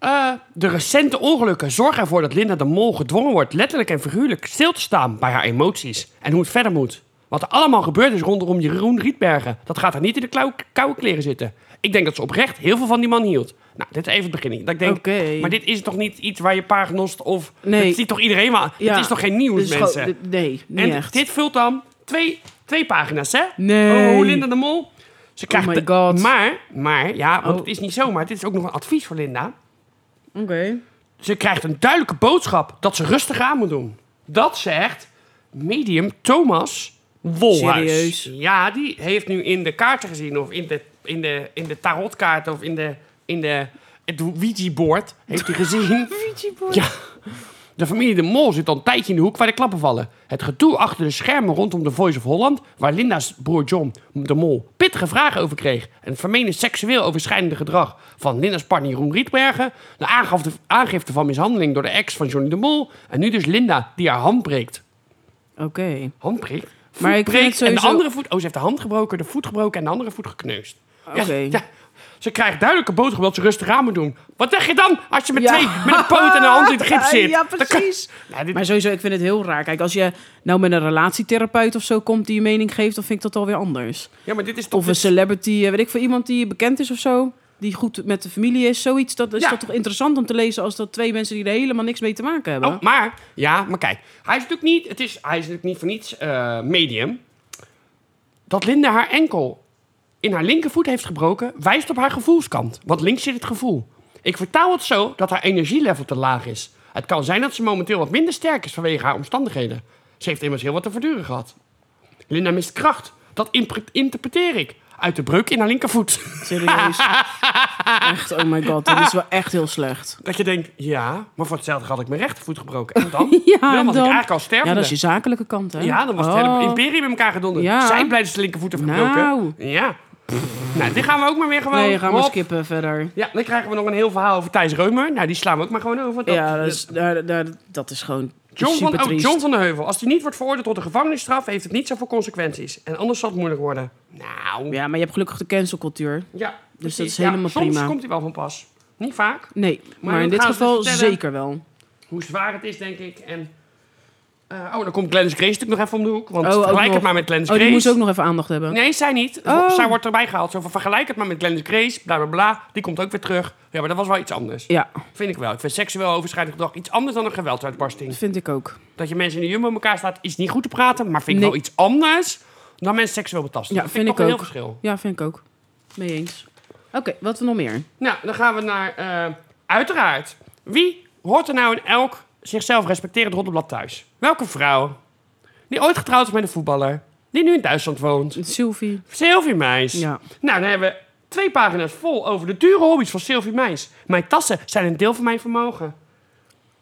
Eh, de recente ongelukken zorgen ervoor dat Linda de Mol gedwongen wordt letterlijk en figuurlijk stil te staan bij haar emoties en hoe het verder moet. Wat er allemaal gebeurd is rondom Jeroen Rietbergen, dat gaat haar niet in de klauw- koude kleren zitten. Ik denk dat ze oprecht heel veel van die man hield. Nou, dit is even het begin. Dat ik denk,
Oké.
maar dit is toch niet iets waar je paragnost of...
Nee.
Dat ziet toch iedereen wel?
Ja.
Dit is toch geen nieuws,
Dit is
mensen?
Dus gewoon- dit- nee, niet
en
echt.
dit vult dan twee, twee pagina's, hè?
Nee. Oh
Oh, Linda de Mol. Ze krijgt
my
de-
God.
Maar, maar, ja, want
Oh.
het is niet zomaar. Dit is ook nog een advies voor Linda.
Oké.
Ze krijgt een duidelijke boodschap dat ze rustig aan moet doen. Dat zegt medium Thomas Wolhuis.
Serieus?
Ja, die heeft nu in de kaarten gezien of in de, in de, in de tarotkaart of in de, in de het Ouija-board heeft hij gezien. Ja. De familie De Mol zit al een tijdje in de hoek waar de klappen vallen. Het gedoe achter de schermen rondom The Voice of Holland, waar Linda's broer John De Mol pittige vragen over kreeg en het vermeende seksueel overschrijdende gedrag van Linda's partner Jeroen Rietbergen, de aangifte, aangifte van mishandeling door de ex van Johnny De Mol en nu dus Linda die haar hand breekt.
Oké.
Hand breekt? Voet
Maar ik vind
breekt
het
en de
sowieso-
andere voet... Oh, ze heeft de hand gebroken, de voet gebroken en de andere voet gekneusd. Ja,
Oké.
ja. Ze krijgt duidelijke boodschap dat ze rustig aan moet doen. Wat zeg je dan als je met
Ja.
twee, met een poot en een hand in het gips zit?
Ja,
Dan kan-
precies.
Nou, dit-
Maar sowieso, ik vind het heel raar. Kijk, als je nou met een relatietherapeut of zo komt die je mening geeft, dan vind ik dat alweer anders.
Ja, maar dit is toch...
Of een
dit-
celebrity, eh, weet ik veel, iemand die bekend is of zo. Die goed met de familie is, zoiets. Dat is
Ja.
dat toch interessant om te lezen als dat twee mensen die er helemaal niks mee te maken hebben.
Oh, maar, ja, maar kijk. Hij is natuurlijk niet, het is, hij is natuurlijk niet voor niets eh, medium. Dat Linda haar enkel in haar linkervoet heeft gebroken, wijst op haar gevoelskant. Want links zit het gevoel. Ik vertaal het zo dat haar energielevel te laag is. Het kan zijn dat ze momenteel wat minder sterk is vanwege haar omstandigheden. Ze heeft immers heel wat te verduren gehad. Linda mist kracht. Dat impre- interpreteer ik. uit de breuk in haar linkervoet.
Serieus. echt, oh my god. Dat is wel echt heel slecht.
Dat je denkt, ja, maar voor hetzelfde had ik mijn rechtervoet gebroken. En dan?
Ja,
dan was ik
dan-
eigenlijk al
Ja,
stervende.
dat is je zakelijke kant, hè? Oh.
Ja, dan was het hele imperium in elkaar gedonderd.
Ja.
Zij blij dat ze de linkervoet heeft gebroken.
Nou.
Ja. Nou, dit gaan we ook maar weer gewoon...
Nee, gaan we
Hop.
skippen verder.
Ja, dan krijgen we nog een heel verhaal over Thijs Reumer. Nou, die slaan we ook maar gewoon over. want dat-
Ja, dat is, daar, daar, dat is gewoon
John
super
van, oh,
triest.
John van de Heuvel. Als hij niet wordt veroordeeld tot een gevangenisstraf, heeft het niet zoveel consequenties. En anders zal het moeilijk worden. Nou.
Ja, maar je hebt gelukkig de cancelcultuur.
Ja,
Dus dat is
precies.
helemaal
soms
prima.
komt hij wel van pas. Niet vaak.
Nee, maar,
dan
in dit
gaan ze
geval
dus vertellen-
zeker wel. Oh,
Hoe zwaar het is, denk ik. En, eh, oh, dan komt Glennis Grace natuurlijk nog even om de hoek.
Oh,
Want
ook
vergelijk het
nog.
maar met Glennis
Oh, die
Grace.
moest ook nog even aandacht hebben.
Nee, zij niet.
Oh.
Zij wordt erbij gehaald. Zo van, vergelijk het maar met Glennis Grace. Bla, bla, bla. Die komt ook weer terug. Ja, maar dat was wel iets anders.
Ja,
Vind ik wel. Ik vind seksueel overschrijdend gedrag iets anders dan een
dat
geweldsuitbarsting.
vind ik ook.
Dat je mensen in de jumbo elkaar staat, is niet goed te praten. Maar vind ik
Nee.
wel iets anders dan mensen seksueel betasten.
Ja,
dat
vind
vind,
ik
ik toch
ook.
een heel verschil.
Ja, vind ik ook. Mee eens. Oké, wat we nog meer?
Nou, dan gaan we naar, eh, uiteraard. Wie hoort er nou in elk zichzelf respecterend roddelblad thuis? Welke vrouw die ooit getrouwd is met een voetballer, die nu in Duitsland woont?
Sylvie.
Sylvie Meis.
Ja.
Nou, dan hebben we twee pagina's vol over de dure hobby's van Sylvie Meis. Mijn tassen zijn een deel van mijn vermogen.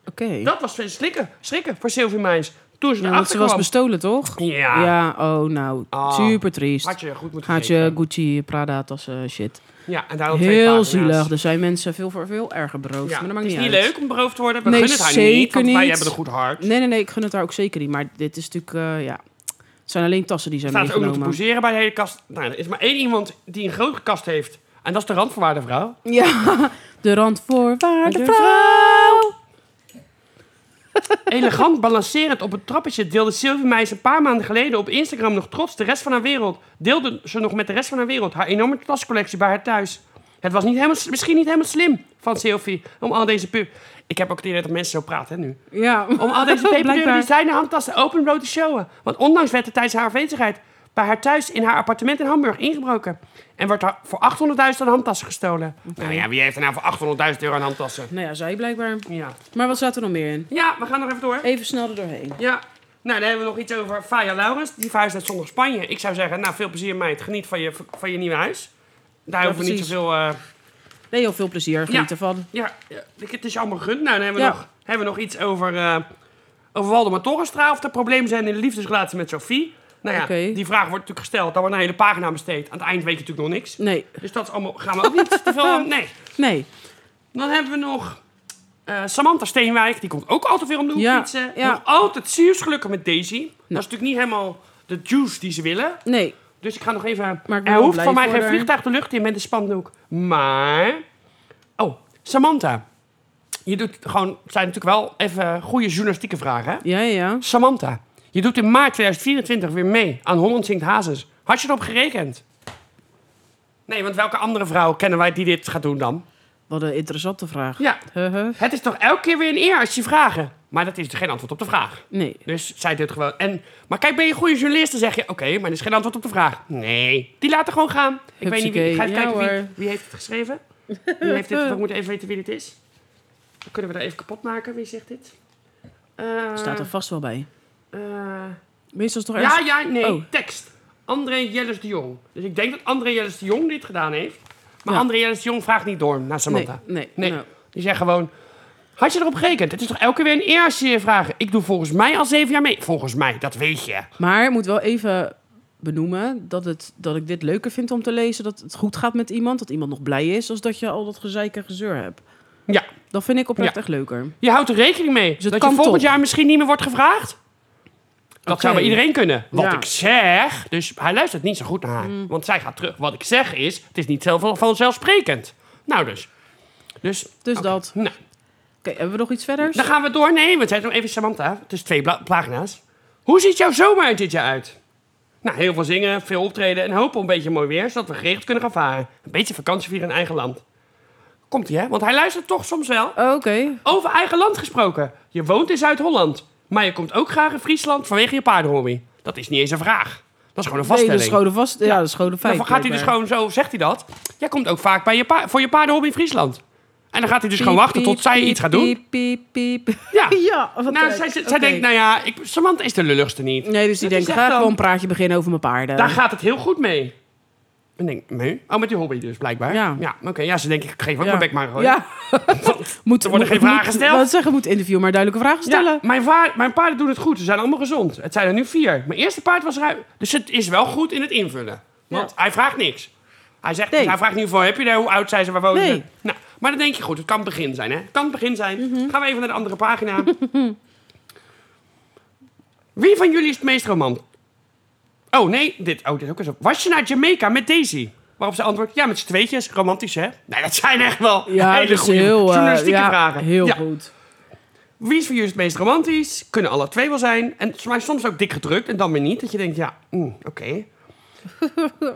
Oké.
Dat was schrikken, schrikken voor Sylvie Meis. Toen
Ja,
ze
want
erachter
ze was
kwam,
bestolen, toch?
Ja.
Ja, oh nou,
Ah.
super triest.
had je goed moeten
Gaat je
geven.
Gucci, Prada tassen, shit.
Ja, en daarom twee
Heel
pagina's.
zielig. Er zijn mensen veel voor veel erger beroofd. maar
Ja,
dat
het
maakt
is
niet
niet
uit.
leuk om beroofd te worden. We
Nee,
gunnen het haar niet,
zeker
want wij
niet.
hebben een goed hart.
Nee, nee, nee. Ik gun het haar ook zeker niet. Maar dit is natuurlijk, eh, ja. Het zijn alleen tassen die zijn
Staat er ook nog te
meegenomen.
poseren bij de hele kast. Nou, er is maar één iemand die een grote kast heeft. En dat is de randvoorwaardenvrouw.
Ja, de randvoorwaarden.
vrouw! Elegant balancerend op het trappetje deelde Sylvie Meijs een paar maanden geleden op Instagram nog trots de rest van haar wereld. Deelde ze nog met de rest van haar wereld haar enorme tascollectie bij haar thuis. Het was niet helemaal, misschien niet helemaal slim van Sylvie om al deze pu. Ik heb ook het idee dat mensen zo praten hè, nu.
Ja,
Om al deze peperdeuren
Blijkbaar.
die zijn handtassen openbloot te showen. Want ondanks werd er tijdens haar afwezigheid bij haar thuis in haar appartement in Hamburg ingebroken. En wordt haar voor 800.000 aan handtassen gestolen. Nou ja, wie heeft er nou voor 800.000 euro aan handtassen?
Nou ja, zij blijkbaar.
Ja.
Maar wat staat er nog meer in?
ja, we gaan nog even door.
Even snel er doorheen.
Ja. Nou, dan hebben we nog iets over Faya Laurens. Die verhuisd uit zondag Spanje. Ik zou zeggen, nou, veel plezier meid. Geniet van je, van je nieuwe huis. Daar
Ja,
hoeven we niet
precies.
zoveel... eh,
Nee, heel veel plezier. Geniet
Ja.
ervan.
Ja, ja, het is allemaal gegund. Nou, dan hebben we,
Ja.
nog, hebben we nog iets over, eh over Waldemar Torrestra. Of er problemen zijn in de liefdesrelatie met Sophie. Nou ja,
Oké.
die vraag wordt natuurlijk gesteld. Dan wordt een hele pagina besteed. Aan het eind weet je natuurlijk nog niks.
Nee,
Dus dat is allemaal, gaan we ook niet te veel aan. Nee.
nee.
Dan hebben we nog eh, Samantha Steenwijk. Die komt ook altijd weer om de hoek
Ja,
fietsen.
ja. Nou.
Nog altijd zuurs gelukkig met Daisy. Dat is natuurlijk niet helemaal de juice die ze willen.
Nee.
Dus ik ga nog even.
Maar ik ben
er
wel
hoeft
blij
van mij
voor
geen
haar.
vliegtuig de lucht in met een spandoek. Maar. Oh, Samantha. Je doet gewoon. Het zijn natuurlijk wel even goede journalistieke vragen. Hè?
Ja, ja, ja.
Samantha. Je doet in maart 2024 weer mee aan Holland Zingt Hazes. Had je erop gerekend? Nee, want welke andere vrouw kennen wij die dit gaat doen dan?
Wat een interessante vraag.
Ja,
Huh, huh.
het is toch elke keer weer een eer als je vragen. Maar dat is geen antwoord op de vraag.
Nee.
Dus zij doet gewoon. En, maar kijk, ben je een goede journalist? Dan zeg je: Oké, maar er is geen antwoord op de vraag. Nee. Die laten gewoon gaan. Ik weet niet wie. Ik ga even
Hupsakee.
kijken
Ja,
wie,
hoor.
wie heeft het geschreven. Wie heeft dit, we moeten even weten wie dit is. Dan kunnen we daar even kapot maken. Wie zegt dit? Eh,
Staat er vast wel bij.
eh,
Meestal is toch
ja,
ergens...
ja, nee.
Oh.
Tekst. André Jelles de Jong. Dus ik denk dat André Jelles de Jong dit gedaan heeft. Maar
Ja.
André Jelles de Jong vraagt niet door naar
Nee,
Samantha.
nee.
Nee.
nou.
Die zeggen gewoon... Had je erop gerekend? Het is toch elke keer weer een eer als je je vragen... Ik doe volgens mij al zeven jaar mee. Volgens mij, dat weet je.
Maar ik moet wel even benoemen dat, het, dat ik dit leuker vind om te lezen. Dat het goed gaat met iemand. Dat iemand nog blij is. Als dat je al dat gezeik en gezeur hebt.
Ja.
Dat vind ik oprecht
Ja.
echt leuker.
Je houdt er rekening mee
Dus het
dat je
kan
volgend
toch?
jaar misschien niet meer wordt gevraagd? Dat
Oké.
zou bij iedereen kunnen. Wat
Ja. Mm.
ik zeg... Dus hij luistert niet zo goed naar haar. Want zij gaat terug. Wat ik zeg is... Het is niet zelf, vanzelfsprekend. Nou dus. Dus...
Dus
oké.
dat.
Nou,
Oké, hebben we nog iets verders?
dan gaan we door. Nee, want zij is nog even Samantha. Het is twee bla- pagina's. Hoe ziet jouw zomer er dit jaar uit? Nou, heel veel zingen, veel optreden en hopen op een beetje mooi weer... zodat we geregeld kunnen gaan varen. Een beetje vakantie vieren in eigen land. Komt-ie, hè? Want hij luistert toch soms wel.
Oh, Oké.
Over eigen land gesproken. Je woont in Zuid-Holland. Maar je komt ook graag in Friesland vanwege je paardenhobby. Dat is niet eens een vraag. Dat is gewoon een
Nee, dat
vaststelling.
is gewoon een vast... Ja, dat is gewoon een feit.
Daarvoor gaat hij dus
blijkbaar.
gewoon zo, zegt hij dat. Jij komt ook vaak bij je pa- voor je paardenhobby in Friesland. En dan gaat hij dus gewoon wachten tot
Piep,
zij
piep,
iets gaat doen.
Piep, piep, piep.
Ja.
ja, wat
Nou,
leuk.
zij, zij
Oké.
denkt, nou ja, ik, Samantha is de lulligste niet.
Nee, dus die
Dat is
denkt,
echt
ga
dan-
gewoon een praatje beginnen over mijn paarden.
Daar gaat het heel goed mee. En denk, nee. Oh, met die hobby dus, blijkbaar.
Ja.
oké. Ja, ze denken, ik geef ook
Ja.
mijn bek maar gewoon.
Ja, moet,
Er worden geen vragen gesteld.
Wat zeggen, moet interviewen, maar duidelijke vragen stellen.
Ja, mijn, vaar- mijn paarden doen het goed. Ze zijn allemaal gezond. Het zijn er nu vier. Mijn eerste paard was ruim. Dus het is wel goed in het invullen. Want
Ja.
hij vraagt niks. Hij, zegt,
Nee.
hij vraagt niet voor, heb je daar, hoe oud zijn ze, waar wonen
Nee.
ze? Nou, maar dan denk je, goed, het kan het begin zijn, hè? Het kan het begin zijn.
Mhm.
Gaan we even naar de andere pagina. Wie van jullie is het meest romant? Oh, nee, dit, oh, dit is ook eens op. Was je naar Jamaica met Daisy? Waarop ze antwoordt, ja, met z'n tweetjes. Romantisch, hè? Nou, dat zijn echt wel hele
dat is
goede
heel, eh,
journalistieke
ja,
vragen.
Heel
Ja.
goed. Nou,
Wie is voor jullie het meest romantisch? Kunnen alle twee wel zijn. En het is mij soms ook dik gedrukt en dan weer niet. Dat je denkt, ja, mm, oké.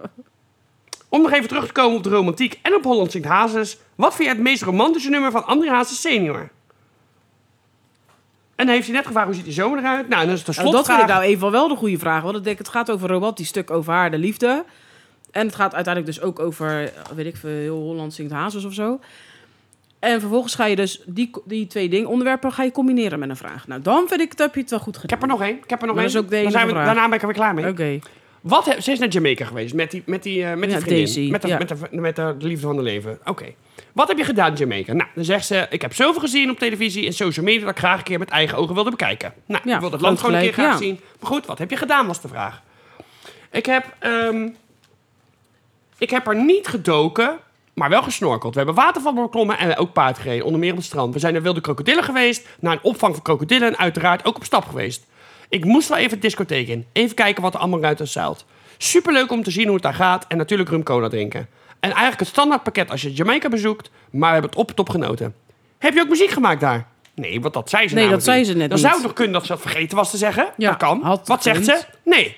Om nog even terug te komen op de romantiek en op Holland Sint Hazes. Wat vind jij het meest romantische nummer van André Hazes senior? En dan heeft hij net gevraagd, hoe ziet die zomer eruit? Nou, en dan is het de
Nou, dat vind
slotvraag.
ik nou even wel de goede vraag. Want ik denk, het gaat over een romantisch stuk over haar, de liefde. En het gaat uiteindelijk dus ook over, weet ik veel, heel Holland zingt hazes of zo. En vervolgens ga je dus die, die twee dingen, onderwerpen, ga je combineren met een vraag. Nou, dan vind ik, het heb je het wel goed
Ik
gedaan.
heb er nog één. Ik heb er nog
Maar
één.
dat is ook de
dan
enige
zijn we,
vraag.
daarna ben ik er weer klaar mee.
Oké.
Wat heb, ze is naar Jamaica geweest met die, met die, eh, met die
Ja,
vriendin.
Daisy,
met, de,
ja.
met, de, met de liefde van de leven. Oké. Wat heb je gedaan in Jamaica? Nou, dan zegt ze... Ik heb zoveel gezien op televisie en social media... dat ik graag een keer met eigen ogen wilde bekijken. Nou,
Ja,
ik wilde het land
groot
gewoon een keer
gelijk,
graag
ja.
zien. Maar goed, wat heb je gedaan was de vraag. Ik heb... ehm, ik heb er niet gedoken, maar wel gesnorkeld. We hebben watervallen beklommen en ook paard gereden, onder meer op het strand. We zijn naar wilde krokodillen geweest, naar een opvang van krokodillen en uiteraard ook op stap geweest. Ik moest wel even de discotheek in, even kijken wat er allemaal uit ons zeilt. Superleuk om te zien hoe het daar gaat en natuurlijk rum cola drinken. En eigenlijk het standaardpakket als je Jamaica bezoekt, maar we hebben het op het top genoten. Heb je ook muziek gemaakt daar? Nee, want dat zei ze
Nee,
namelijk
dat zei
niet.
ze net
Dan
niet.
zou het nog kunnen dat ze dat vergeten was te zeggen.
Ja,
dat kan.
had
Wat zegt ze?
gekund.
Nee.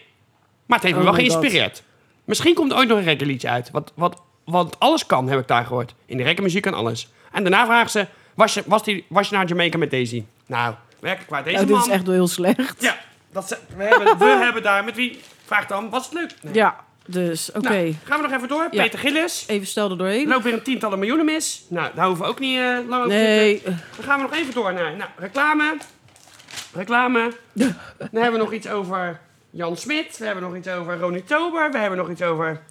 Maar het heeft me
Oh
wel
my God.
geïnspireerd. Misschien komt er ooit nog een reggae-liedje uit. Want, want, want alles kan, heb ik daar gehoord. In de reggae-muziek kan alles. En daarna vraagt ze... Was je, was, die, was je naar Jamaica met Daisy? Nou, werkelijk waar. Deze
Nou, dit
man...
is echt wel heel slecht.
Ja, dat ze, we, hebben, we hebben daar... Met wie? Vraag dan, was het leuk? Nee.
Ja, dus oké.
Nou, gaan we nog even door.
Ja.
Peter Gillis.
Even stel er doorheen.
Er loopt weer een tientallen miljoenen mis. Nou, daar hoeven we ook niet eh, lang over te
nee.
dan gaan we nog even door naar nou, reclame. Reclame. Dan hebben we nog iets over Jan Smit. We hebben nog iets over Ronnie Tober. We hebben nog iets over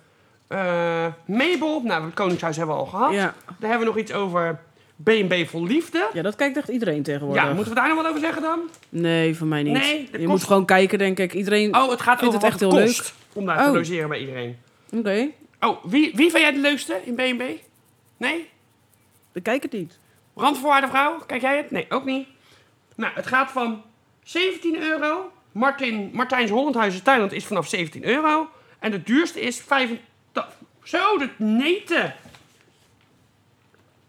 eh, Mabel. Nou, het Koningshuis hebben we al gehad.
Ja.
Dan hebben we nog iets over BNB Vol Liefde.
ja, dat kijkt echt iedereen tegenwoordig.
Ja, moeten we daar nog wat over zeggen dan?
Nee, voor mij niet.
Nee,
je
dat
moet
kost-
gewoon kijken, denk ik. Iedereen...
Oh, het gaat
Vindt
over
het
wat
echt
het
heel
kost om daar te
Oh.
logeren bij iedereen.
Oké,
Oh, wie, wie vind jij de leukste in BNB? Nee?
dan kijk het niet.
Randvoorwaardenvrouw, kijk jij het? Nee, ook niet. Nou, het gaat van 17 euro. Martin, Martijns Hollandhuizen Thailand is vanaf 17 euro. En de duurste is 85. Zo, de neten.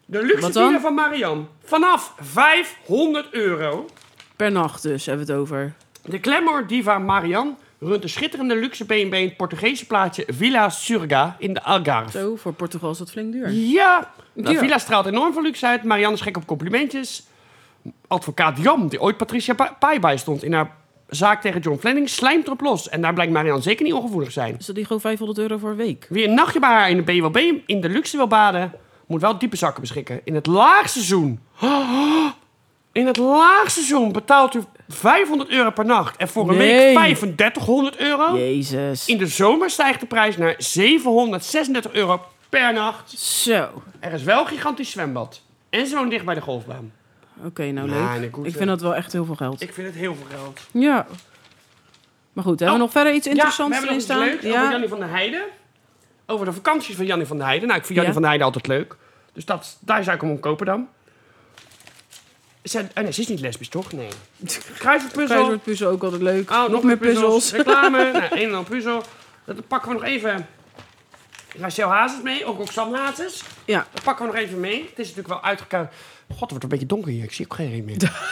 De luxe
Wat dan?
villa van Marian. Vanaf 500 euro.
Per nacht dus, hebben we het over.
De glamour diva Marian runt de schitterende luxe B&B in het Portugese plaatje Villa Surga in de Algarve.
Zo, voor Portugal is dat flink duur.
Ja, de
Ja.
villa straalt enorm veel luxe uit. Marianne is gek op complimentjes. Advocaat Jam, die ooit Patricia Pa- Pai bijstond in haar zaak tegen John Fleming, slijmt erop los. En daar blijkt Marianne zeker niet ongevoelig te zijn.
Is dat die gewoon 500 euro voor een week?
Wie een nachtje bij haar in de BWB in de luxe wil baden, moet wel diepe zakken beschikken. In het laagseizoen. In het laagseizoen betaalt u 500 euro per nacht. En voor een
Nee.
week 3500 euro.
Jezus.
Oh. In de zomer stijgt de prijs naar 736 euro per nacht.
Zo.
Er is wel een gigantisch zwembad. En ze woont dicht bij de golfbaan.
Oké, nou
Nou,
leuk.
nee, goed,
ik
hè.
vind dat wel echt heel veel geld.
Ik vind het heel veel geld.
Ja. Maar goed, hebben we
Oh.
nog verder iets interessants
ja, we
erin
hebben nog
staan?
iets leuks over Jannie van der Heijden. Over de vakanties van Jannie van der Heijden. Nou, ik vind Jannie
Ja.
van der Heijden altijd leuk. Dus dat, daar zou ik hem om kopen dan. Ze, oh nee, ze is niet lesbisch, toch? Nee.
Prijs
Kruiswoordpuzzel.
wordt puzzel ook altijd leuk.
Oh, nog, meer puzzels.
puzzels.
Reclame. nou, een en ander puzzel. Dat pakken we nog even... Rachel Hazes mee, ook Roxanne Hazes.
Ja.
Dat pakken we nog even mee. Het is natuurlijk wel uitgekomen. God, het wordt een beetje donker hier. Ik zie ook geen reden meer.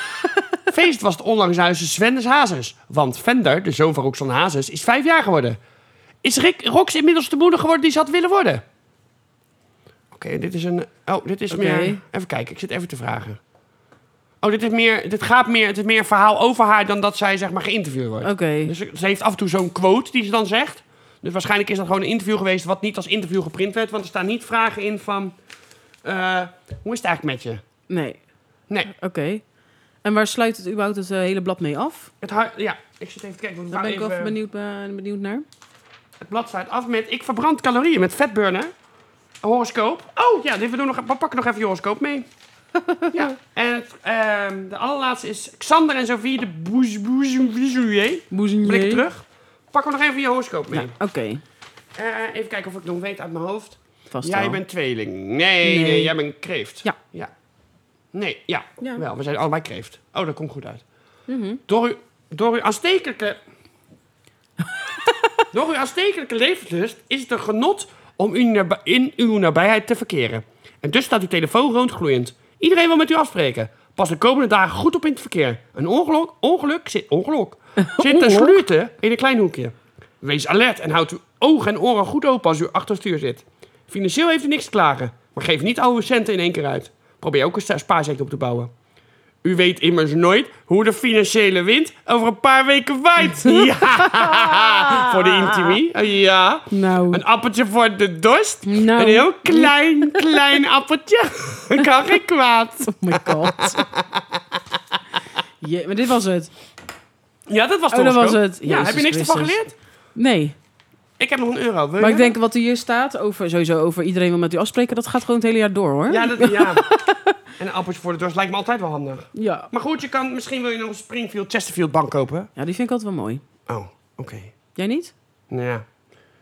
Feest was het onlangs naar huis Svendes Hazes. Want Vender, de zoon van Roxanne Hazes, is vijf jaar geworden. Is Rick, Rox inmiddels de moeder geworden die ze had willen worden? Oké, dit is een... Oh, dit is
Oké.
meer... Even kijken, ik zit even te vragen. Oh, dit, is meer, dit gaat meer... Het is meer een verhaal over haar dan dat zij, zeg maar, geïnterviewd wordt.
Oké.
Dus ze ze heeft af en toe zo'n quote die ze dan zegt. Dus waarschijnlijk is dat gewoon een interview geweest wat niet als interview geprint werd. Want er staan niet vragen in van... eh, hoe is het eigenlijk met je?
Nee.
Nee,
Oké. En waar sluit het überhaupt het eh, hele blad mee af?
het hu- Ja, ik zit Nou, even te kijken. want
Daar
we gaan
ben ik wel
even-
benieuwd, eh, benieuwd naar.
Het blad sluit af met... Ik verbrand calorieën met vetburner. Horoscoop. Oh ja, dit, we, doen nog, we pakken nog even je horoscoop mee. ja. En het, ehm, de allerlaatste is Xander en Sophie de Boes Boes Boes Blik terug. Pakken we nog even je horoscoop mee.
Oké,
Eh, even kijken of ik nog weet uit mijn hoofd.
vast
Jij
wel.
bent tweeling. Nee, nee.
Nee.
jij bent kreeft.
Ja.
ja. Nee, ja.
Ja.
Wel, we zijn allebei kreeft. Oh, dat komt goed uit.
Mhm.
Door, uw, door uw aanstekelijke... door uw aanstekelijke levenslust is het een genot om u nabij- in uw nabijheid te verkeren. En dus staat uw telefoon roodgloeiend. Iedereen wil met u afspreken. Pas de komende dagen goed op in het verkeer. Een ongeluk, ongeluk zit, ongeluk, zit te sluten in een klein hoekje. Wees alert en houd uw ogen en oren goed open als u achter het stuur zit. Financieel heeft u niks te klagen, maar geef niet al uw centen in één keer uit. Probeer ook een sta- spaarzeker op te bouwen. U weet immers nooit hoe de financiële wind over een paar weken waait. ja, voor de intimie. Ja.
Nou,
Een appeltje voor de dorst.
Nou.
Een heel klein, klein appeltje. kan geen kwaad.
oh my god. Je, maar dit was het.
Ja, dat was
Oh,
de
dat was
horoscoop.
het.
Ja, heb je
Jezus
niks ervan
Christus.
geleerd?
Nee,
Ik heb nog een euro. Wil je?
maar ik denk wat er hier staat over sowieso over iedereen wil met u afspreken, dat gaat gewoon het hele jaar door, hoor.
Ja, dat, ja. en een appeltje voor de dorst lijkt me altijd wel handig.
ja.
Maar goed, je kan, misschien wil je nog een Springfield Chesterfield bank kopen.
Ja, die vind ik altijd wel mooi.
Oh, oké.
Jij niet?
Nou ja.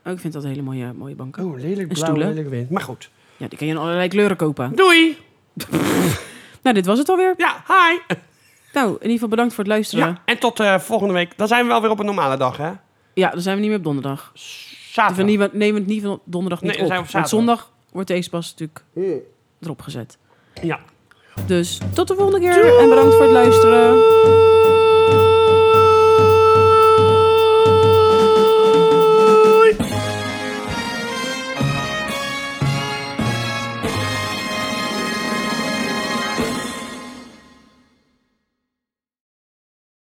Oh, ik vind dat hele mooie, mooie banken.
Oh, lelijk
En
blauw,
stoelen.
lelijk wit. Maar goed.
Ja, die kan je in allerlei kleuren kopen.
Doei.
Nou, dit was het alweer.
Ja, hi.
Nou, in ieder geval bedankt voor het luisteren.
Ja,
Ja,
en tot eh, volgende week. Dan zijn we wel weer op een normale dag, hè?
dan zijn we niet meer op donderdag. We
Zaterdag.
nie- nemen het niet van donderdag niet
Nee, dan
op.
zijn we op
Want
zaterdag.
zondag wordt deze pas natuurlijk erop gezet.
Ja.
Dus tot de volgende keer en bedankt voor het luisteren.
Doei.